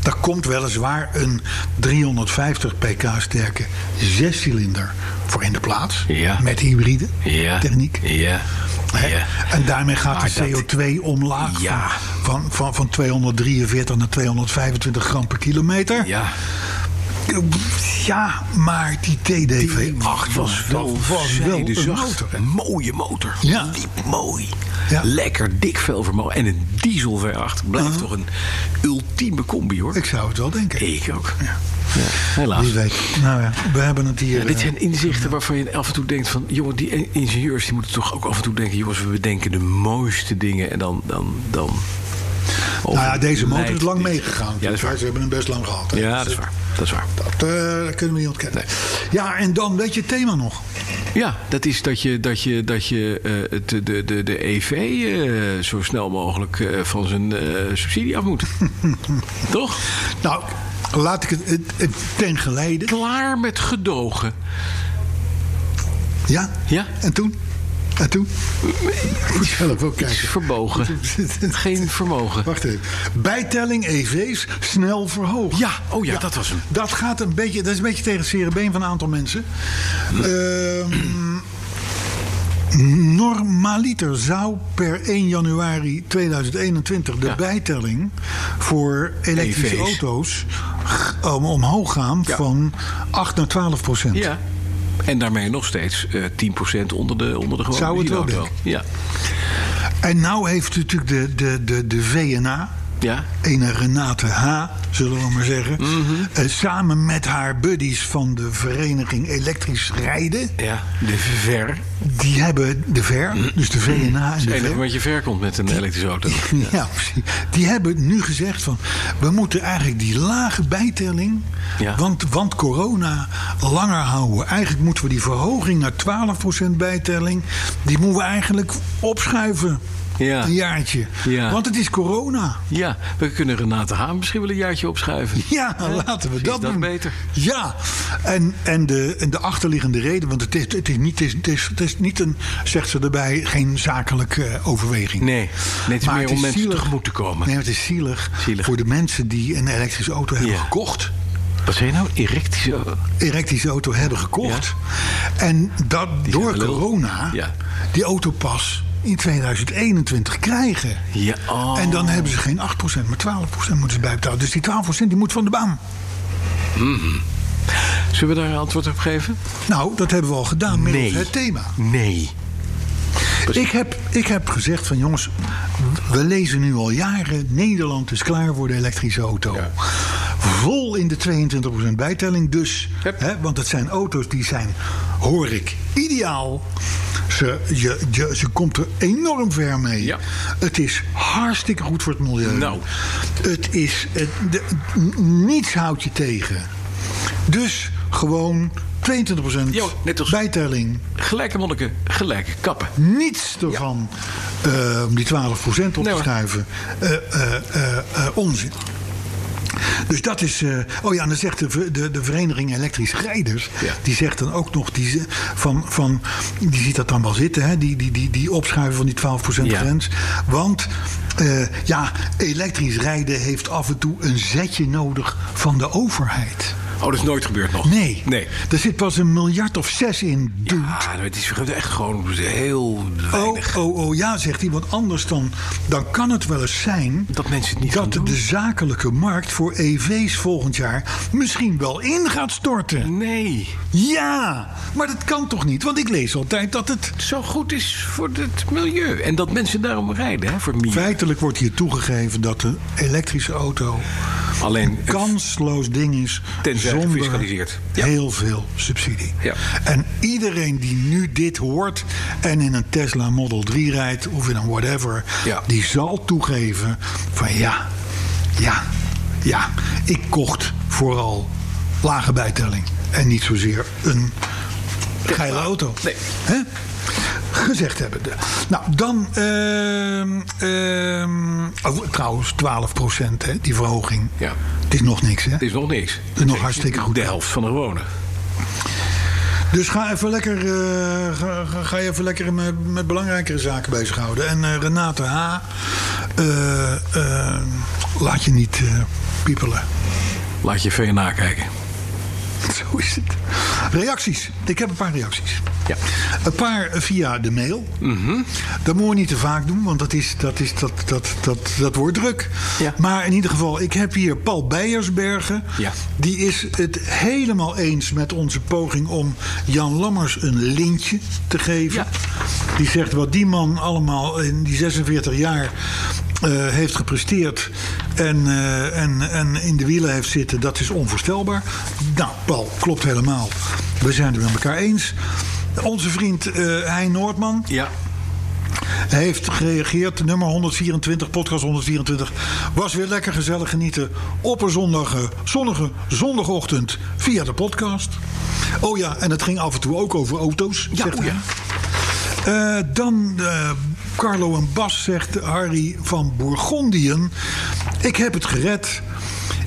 Speaker 5: Daar komt weliswaar een 350 pk sterke zescilinder voor in de plaats.
Speaker 4: Ja.
Speaker 5: Met hybride
Speaker 4: Ja.
Speaker 5: techniek.
Speaker 4: Ja.
Speaker 5: Hè?
Speaker 4: Ja.
Speaker 5: En daarmee gaat
Speaker 4: Maar dat-
Speaker 5: de CO2 omlaag
Speaker 4: Ja.
Speaker 5: van, van, van, van 243 naar 225 gram per kilometer.
Speaker 4: Ja.
Speaker 5: Ja, maar die TDV8
Speaker 4: Ach, was wel,
Speaker 5: dat was wel een
Speaker 4: zijdezacht.
Speaker 5: motor.
Speaker 4: Een mooie motor.
Speaker 5: Ja.
Speaker 4: Liep mooi.
Speaker 5: Ja. Uh-huh.
Speaker 4: Lekker dik veel vermogen. En een diesel V8 blijft toch een ultieme combi hoor.
Speaker 5: Ik zou het wel denken.
Speaker 4: Ik ook. Ja. Helaas.
Speaker 5: Wie weet. Nou ja, we hebben het hier.
Speaker 4: Ja, dit
Speaker 5: eh,
Speaker 4: zijn inzichten waarvan je af en toe denkt van... jongen, die in- ingenieurs die moeten toch ook af en toe denken... jongens, we bedenken de mooiste dingen en dan... dan, dan
Speaker 5: Nou ja, deze motor is
Speaker 4: Leidt
Speaker 5: lang
Speaker 4: dit.
Speaker 5: meegegaan.
Speaker 4: Ja, dat is waar.
Speaker 5: Ze hebben hem best lang gehad. hè.
Speaker 4: Ja, dat
Speaker 5: Dus,
Speaker 4: is waar. Dat is waar.
Speaker 5: Dat, eh, dat kunnen we niet ontkennen. Ja, en dan weet je het thema nog.
Speaker 4: Ja, dat is dat je, dat je, dat je eh, het, de, de, de EV eh, zo snel mogelijk eh, van zijn eh, subsidie af moet. Toch?
Speaker 5: Nou, laat ik het, het, het ten geleide.
Speaker 4: Klaar met gedogen.
Speaker 5: Ja?
Speaker 4: Ja.
Speaker 5: En toen? En toen? Moet je zelf ook
Speaker 4: Iets
Speaker 5: kijken.
Speaker 4: verbogen. Geen vermogen.
Speaker 5: Wacht even. Bijtelling EV's snel verhoogd.
Speaker 4: Ja, oh ja, dat was hem.
Speaker 5: Dat gaat een beetje, dat is een beetje tegen het zere been van een aantal mensen. Ehm, normaliter zou per 1 januari 2021 de
Speaker 4: Ja.
Speaker 5: bijtelling voor elektrische
Speaker 4: EV's.
Speaker 5: auto's g- om- omhoog gaan
Speaker 4: Ja.
Speaker 5: van 8 naar 12 procent.
Speaker 4: Ja. En daarmee nog steeds eh 10% onder de, onder de gewone
Speaker 5: Zou het wel
Speaker 4: benzineauto.
Speaker 5: denken.
Speaker 4: Ja.
Speaker 5: En nou heeft natuurlijk de, de, de, de VNA,
Speaker 4: Ja.
Speaker 5: ene Renate H., zullen we maar zeggen.
Speaker 4: Mhm.
Speaker 5: eh, samen met haar buddies van de vereniging Elektrisch Rijden.
Speaker 4: Ja. De ver.
Speaker 5: Die hebben de
Speaker 4: Mhm.
Speaker 5: VER, dus de VNA en
Speaker 4: Het
Speaker 5: de
Speaker 4: enige
Speaker 5: VER.
Speaker 4: wat je ver komt met een elektrische auto.
Speaker 5: Ja, precies. Die hebben nu gezegd van... we moeten eigenlijk die lage bijtelling...
Speaker 4: Ja.
Speaker 5: Want, want corona langer houden. Eigenlijk moeten we die verhoging naar 12% bijtelling... die moeten we eigenlijk opschuiven.
Speaker 4: Ja.
Speaker 5: Een jaartje.
Speaker 4: Ja.
Speaker 5: Want het is corona.
Speaker 4: Ja, we kunnen Renate Haan misschien wel een jaartje opschuiven.
Speaker 5: Ja, laten we
Speaker 4: precies,
Speaker 5: dat
Speaker 4: dat
Speaker 5: doen.
Speaker 4: beter.
Speaker 5: Ja, en, en, de, en de achterliggende reden, want het is, het is, niet, het is, het is, het is niet een, zegt ze erbij, geen zakelijke eh, overweging.
Speaker 4: Nee, nee, het is
Speaker 5: Maar
Speaker 4: meer
Speaker 5: het
Speaker 4: om
Speaker 5: is
Speaker 4: mensen
Speaker 5: zielig.
Speaker 4: tegemoet te komen.
Speaker 5: Nee, maar het is zielig,
Speaker 4: Zielig.
Speaker 5: voor de mensen die een elektrische auto hebben
Speaker 4: Ja.
Speaker 5: gekocht.
Speaker 4: Wat zei je nou? Erectische...
Speaker 5: Elektrische auto hebben gekocht. En dat door
Speaker 4: zijn gelul.
Speaker 5: corona
Speaker 4: Ja.
Speaker 5: die auto pas in 2021 krijgen.
Speaker 4: Ja, oh.
Speaker 5: En dan hebben ze geen 8%, maar 12% moeten ze bijbetalen. Dus die 12% die moet van de baan.
Speaker 4: Zullen we daar een antwoord op geven?
Speaker 5: Nou, dat hebben we al gedaan met
Speaker 4: Nee.
Speaker 5: het thema.
Speaker 4: Nee.
Speaker 5: Ik heb, ik heb gezegd van jongens, we lezen nu al jaren... Nederland is klaar voor de elektrische auto. Vol in de 22% bijtelling dus.
Speaker 4: Yep.
Speaker 5: Hè, want het zijn auto's die zijn, hoor ik, ideaal. Ze, je, je, ze komt er enorm ver mee.
Speaker 4: Ja.
Speaker 5: Het is hartstikke goed voor het milieu.
Speaker 4: Nou.
Speaker 5: Het is... Het, de- n- niets houdt je tegen. Dus gewoon 22%
Speaker 4: Ja, net als-
Speaker 5: bijtelling
Speaker 4: Gelijke monniken, gelijke kappen.
Speaker 5: niets ervan eh, om die 12% op
Speaker 4: Nee,
Speaker 5: te
Speaker 4: hoor.
Speaker 5: schuiven. Eh, eh, eh, eh, onzin. Dus dat is. eh, oh ja, en dan zegt de, ver- de, de Vereniging Elektrische Rijders.
Speaker 4: Ja.
Speaker 5: Die zegt dan ook nog. Die, ze- van, van, die ziet dat dan wel zitten, hè? Die, die, die, die opschuiven van die 12%
Speaker 4: Ja.
Speaker 5: grens. Want eh, ja, elektrisch rijden heeft af en toe een zetje nodig van de overheid.
Speaker 4: Oh, dat is nooit gebeurd nog.
Speaker 5: Nee.
Speaker 4: Nee.
Speaker 5: Er zit pas een miljard of zes in, dude.
Speaker 4: Ah, het is echt gewoon heel
Speaker 5: Oh,
Speaker 4: weinig.
Speaker 5: oh, oh, ja, zegt hij. Want anders dan, dan kan het wel eens zijn...
Speaker 4: Dat mensen het niet gaan
Speaker 5: dat
Speaker 4: doen.
Speaker 5: de zakelijke markt voor EV's volgend jaar misschien wel in gaat storten.
Speaker 4: Nee.
Speaker 5: Ja, maar dat kan toch niet? Want ik lees altijd dat het...
Speaker 4: Zo goed is voor het milieu. En dat mensen daarom rijden, hè, voor mij.
Speaker 5: Feitelijk wordt hier toegegeven dat de elektrische auto...
Speaker 4: Alleen
Speaker 5: een kansloos ding is
Speaker 4: Tenzij
Speaker 5: zonder
Speaker 4: gefiscaliseerd. Ja.
Speaker 5: heel veel subsidie.
Speaker 4: Ja.
Speaker 5: En iedereen die nu dit hoort en in een Tesla Model 3 rijdt of in een whatever,
Speaker 4: Ja.
Speaker 5: die zal toegeven van ja, ja, ja, ik kocht vooral lage bijtelling en niet zozeer een geile auto.
Speaker 4: Nee.
Speaker 5: Hè? Gezegd hebben. Nou, dan. ehm, ehm, oh, trouwens, 12 hè, die verhoging.
Speaker 4: Ja.
Speaker 5: Het is nog niks, hè?
Speaker 4: Het is nog niks.
Speaker 5: is nog hartstikke goed.
Speaker 4: De helft van de gewone.
Speaker 5: Dus ga even lekker, eh, ga, ga- ga je even lekker met, met belangrijkere zaken bezighouden. En eh, Renate H. eh, eh, laat je niet eh, piepelen.
Speaker 4: Laat je even nakijken.
Speaker 5: Zo is het. Reacties. Ik heb een paar reacties.
Speaker 4: Ja. Mhm.
Speaker 5: Een paar via de mail. Dat moet je niet te vaak doen, want dat, is, dat, is, dat, dat, dat, dat wordt druk.
Speaker 4: Ja.
Speaker 5: Maar in ieder geval, ik heb hier Paul Beiersbergen.
Speaker 4: Ja.
Speaker 5: Die is het helemaal eens met onze poging om Jan Lammers een lintje te geven. Die zegt wat die man allemaal in die 46 jaar eh, heeft gepresteerd en, eh, en, en in de wielen heeft zitten, dat is onvoorstelbaar. Nou, Paul, klopt helemaal. We zijn het met elkaar eens. Onze vriend eh Hein Noordman
Speaker 4: Ja.
Speaker 5: heeft gereageerd. Nummer 124, podcast 124. Was weer lekker gezellig genieten op een zonnige, zonnige zondagochtend via de podcast. Oh ja, en het ging af en toe ook over auto's.
Speaker 4: Ja,
Speaker 5: zegt
Speaker 4: oh ja.
Speaker 5: hij. Eh, dan eh, Carlo en Bas zegt Harry van Bourgondiën. Ik heb het gered.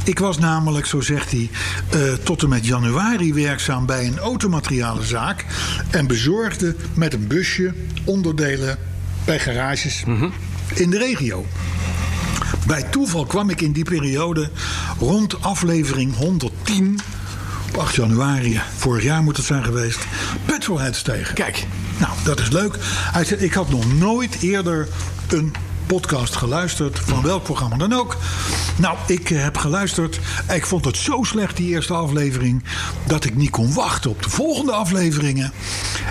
Speaker 5: Ik was namelijk, zo zegt hij, eh, tot en met januari werkzaam bij een automaterialenzaak. En bezorgde met een busje onderdelen bij garages in de regio. Bij toeval kwam ik in die periode rond aflevering 110, op 8 januari, vorig jaar moet het zijn geweest, Petrolheads tegen.
Speaker 4: Kijk.
Speaker 5: Nou, dat is leuk. Hij zei, ik had nog nooit eerder een podcast geluisterd, van welk programma dan ook. Nou, ik eh, heb geluisterd. Ik vond het zo slecht, die eerste aflevering, dat ik niet kon wachten op de volgende afleveringen.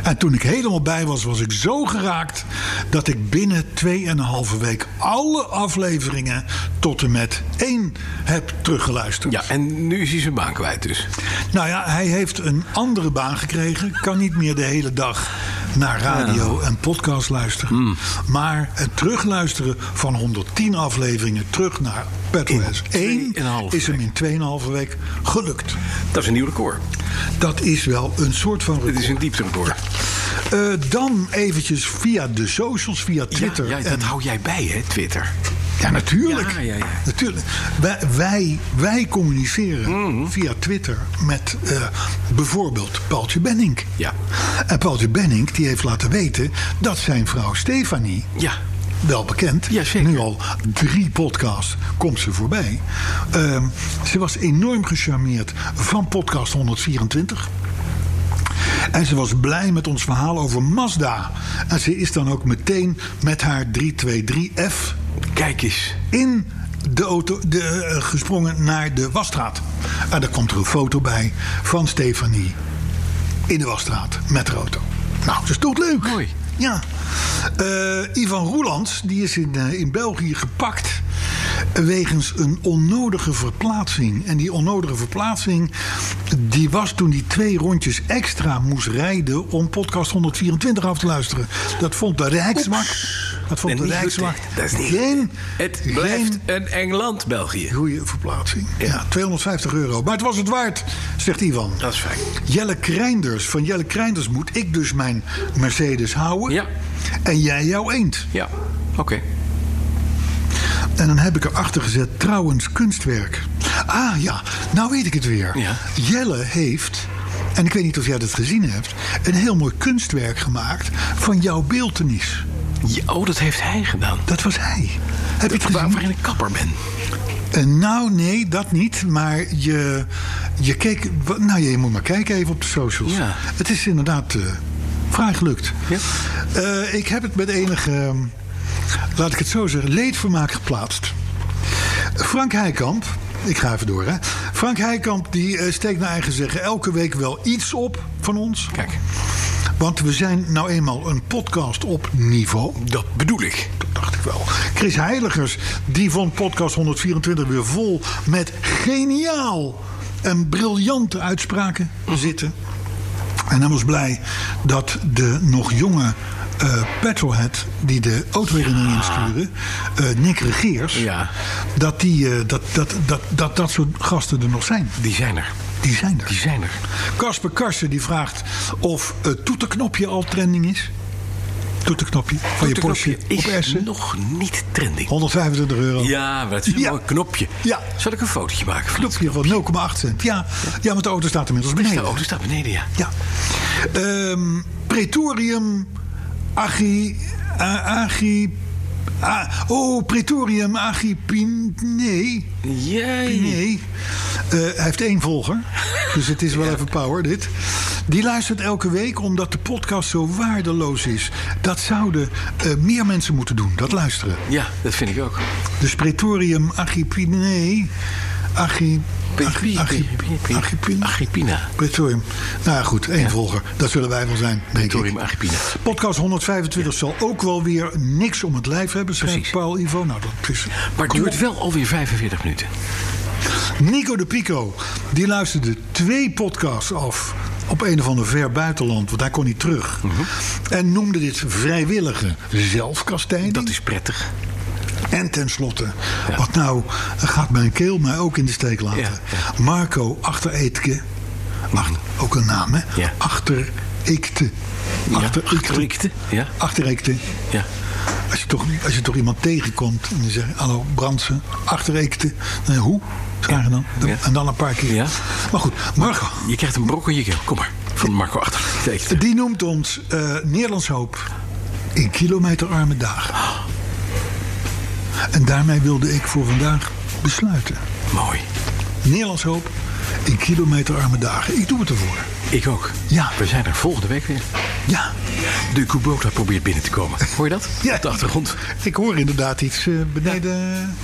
Speaker 5: En toen ik helemaal bij was, was ik zo geraakt dat ik binnen 2,5 week alle afleveringen tot en met één heb teruggeluisterd.
Speaker 4: Ja, en nu is hij zijn baan kwijt dus.
Speaker 5: Nou ja, hij heeft een andere baan gekregen. Kan niet meer de hele dag naar radio en podcast luisteren.
Speaker 4: Hmm.
Speaker 5: Maar het terugluisteren van 110 afleveringen terug naar Petroheads 1
Speaker 4: tweeënhalve
Speaker 5: is hem in 2,5 week gelukt.
Speaker 4: Dat is een nieuw record.
Speaker 5: Dat is wel een soort van
Speaker 4: Dit
Speaker 5: record.
Speaker 4: is een diepterecord.
Speaker 5: Eh, dan eventjes via de socials, via Twitter.
Speaker 4: Ja, ja, dat
Speaker 5: en-
Speaker 4: hou jij bij, hè, Twitter.
Speaker 5: Ja, natuurlijk.
Speaker 4: Ja, ja, ja.
Speaker 5: natuurlijk. Wij, wij, wij communiceren
Speaker 4: Mhm.
Speaker 5: via Twitter met eh, bijvoorbeeld Paultje Benning.
Speaker 4: Ja.
Speaker 5: En Paultje Benning die heeft laten weten dat zijn vrouw Stefanie,
Speaker 4: Ja.
Speaker 5: wel bekend,
Speaker 4: Ja, zeker.
Speaker 5: nu al drie podcasts komt ze voorbij. Ehm, ze was enorm gecharmeerd van podcast 124. En ze was blij met ons verhaal over Mazda. En ze is dan ook meteen met haar 323F
Speaker 4: Kijk eens.
Speaker 5: in de auto de, eh, gesprongen naar de wasstraat. En daar komt er een foto bij van Stefanie in de wasstraat met de auto. Nou, dat is toch leuk?
Speaker 4: Mooi.
Speaker 5: Ja. Eh, Ivan Roelands, die is in, eh, in België gepakt. Wegens een onnodige verplaatsing. En die onnodige verplaatsing. die was toen hij twee rondjes extra moest rijden. om podcast 124 af te luisteren. Dat vond de Rijkswacht. Dat vond
Speaker 4: En
Speaker 5: de
Speaker 4: niet goed,
Speaker 5: Rijkswacht.
Speaker 4: hè? Dat is niet
Speaker 5: geen,
Speaker 4: Het
Speaker 5: geen
Speaker 4: blijft een Engeland, België.
Speaker 5: goede verplaatsing. Ja. 250 euro. Maar het was het waard, zegt Ivan.
Speaker 4: Dat is fijn.
Speaker 5: Jelle Kreinders. Van Jelle Kreinders moet ik dus mijn Mercedes houden.
Speaker 4: Ja.
Speaker 5: En jij jouw eend.
Speaker 4: Ja, oké.
Speaker 5: En dan heb ik erachter gezet trouwens kunstwerk. Ah, Ah ja, nou weet ik het weer.
Speaker 4: Ja.
Speaker 5: Jelle heeft, en ik weet niet of jij dat gezien hebt, een heel mooi kunstwerk gemaakt van jouw beeltenis.
Speaker 4: Ja, oh, dat heeft hij gedaan.
Speaker 5: Dat was hij. Heb je het gezien?
Speaker 4: Waar, waarin ik kapper ben.
Speaker 5: Eh, nou, nee, dat niet. Maar je, je keek. wa- Nou, je moet maar kijken even op de socials.
Speaker 4: Ja.
Speaker 5: Het is inderdaad eh, vrij gelukt.
Speaker 4: Ja.
Speaker 5: Eh, ik heb het met enige. eh, Laat ik het zo zeggen, leedvermaak geplaatst. Frank Heikamp. Ik ga even door, hè. Frank Heikamp die eh, steekt naar eigen zeggen elke week wel iets op van ons.
Speaker 4: Kijk,
Speaker 5: Want we zijn nou eenmaal een podcast op niveau.
Speaker 4: dat bedoel ik.
Speaker 5: Dat dacht ik wel. Chris Heiligers, die vond podcast 124 weer vol met geniaal en briljante uitspraken zitten. En hij was blij dat de nog jonge eh petrolhead die de autoherinnering instuurde, eh, Nick Regeers,
Speaker 4: Ah. Ja.
Speaker 5: dat, die, eh, dat, dat, dat, dat dat soort gasten er nog zijn.
Speaker 4: Die zijn er.
Speaker 5: Die zijn
Speaker 4: Die
Speaker 5: er.
Speaker 4: zijn er.
Speaker 5: Casper Karsen die vraagt of het toeterknopje al trending is. Toeterknopje van je Porsche
Speaker 4: Toeterknopje
Speaker 5: op
Speaker 4: is
Speaker 5: Essen.
Speaker 4: nog niet trending.
Speaker 5: 125 euro.
Speaker 4: Ja, maar het is een
Speaker 5: Ja.
Speaker 4: mooi knopje.
Speaker 5: Ja.
Speaker 4: Zal ik een fotootje maken? van
Speaker 5: Knopje van 0,8 cent. Ja, ja, want de auto staat inmiddels
Speaker 4: het?
Speaker 5: beneden.
Speaker 4: De auto staat beneden, ja.
Speaker 5: Ja. Ehm, Pretorium, Agi... eh, Agi... ah, oh, Pretorium, Agi... Pin, nee.
Speaker 4: Jee.
Speaker 5: Nee. Eh, hij heeft één volger. Dus het is wel even power, dit. Die luistert elke week omdat de podcast zo waardeloos is. Dat zouden eh, meer mensen moeten doen, dat luisteren.
Speaker 4: Ja, dat vind ik ook.
Speaker 5: Dus Pretorium Agipine. Agi.
Speaker 4: Pi- pi-
Speaker 5: Agi- Agi-
Speaker 4: pi- pi-
Speaker 5: Agipine.
Speaker 4: Agrippina.
Speaker 5: Pretorium. Nou ja, goed, één volger. Dat zullen wij wel zijn, denk ik.
Speaker 4: Torium Agrippina.
Speaker 5: Podcast 125 zal ook wel weer niks om het lijf hebben, schrijft
Speaker 4: Precies.
Speaker 5: Paul Ivo. Nou, dat is...
Speaker 4: Maar het
Speaker 5: Kom
Speaker 4: duurt
Speaker 5: op.
Speaker 4: wel alweer 45 minuten.
Speaker 5: Nico de Pico, die luisterde twee podcasts af op een of ander ver buitenland, want daar kon hij terug.
Speaker 4: Mhm.
Speaker 5: En noemde dit vrijwillige zelfkastijding.
Speaker 4: Dat is prettig.
Speaker 5: En tenslotte, wat nou gaat mijn keel mij ook in de steek laten.
Speaker 4: Ja,
Speaker 5: Marco achter Eetke, ach, ook een naam hè?
Speaker 4: Ja.
Speaker 5: Achter Eekte.
Speaker 4: Ja, Agrippina. Ja,
Speaker 5: Achter Eekte.
Speaker 4: ja.
Speaker 5: Als je, toch, als je toch iemand tegenkomt en die zegt: Hallo, Brandsen, achter Eekte. Dan, hoe? Vragen dan.
Speaker 4: Ja.
Speaker 5: En dan een paar keer.
Speaker 4: Ja.
Speaker 5: Maar goed, Marco,
Speaker 4: Je krijgt een brok in je keel. Kom maar. Van Marco achter.
Speaker 5: die noemt ons eh, Nederlands Hoop in kilometerarme dagen. En daarmee wilde ik voor vandaag besluiten.
Speaker 4: Mooi.
Speaker 5: Nederlands Hoop in kilometerarme dagen. Ik doe het ervoor.
Speaker 4: Ik ook.
Speaker 5: Ja.
Speaker 4: We zijn er volgende week weer.
Speaker 5: Ja,
Speaker 4: De Kubota probeert binnen te komen. Hoor je dat?
Speaker 5: Ja.
Speaker 4: Op de achtergrond.
Speaker 5: ik hoor inderdaad iets eh, beneden.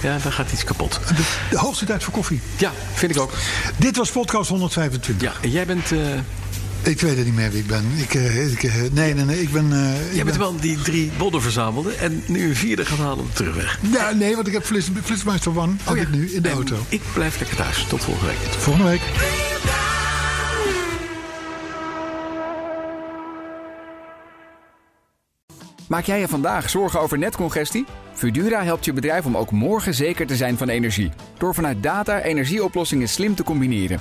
Speaker 4: Ja, daar gaat iets kapot.
Speaker 5: De, de hoogste tijd voor koffie.
Speaker 4: Ja, vind ik ook.
Speaker 5: Dit was podcast 125.
Speaker 4: Ja, en jij bent, eh,
Speaker 5: Ik weet het niet meer wie ik ben. Ik, eh, ik, eh, nee, nee, nee. Ik ben. eh, ik
Speaker 4: jij bent
Speaker 5: ben-
Speaker 4: wel die drie bodden verzamelde en nu een vierde gaat halen op de terugweg.
Speaker 5: Ja, nee, want ik heb Flits- Flitsmeister One.
Speaker 4: Oh
Speaker 5: Heb ik nu in de
Speaker 4: En
Speaker 5: auto.
Speaker 4: Ik blijf lekker thuis. Tot volgende week.
Speaker 5: Volgende week.
Speaker 1: Maak jij je vandaag zorgen over netcongestie? Fudura helpt je bedrijf om ook morgen zeker te zijn van energie. Door vanuit data energieoplossingen slim te combineren.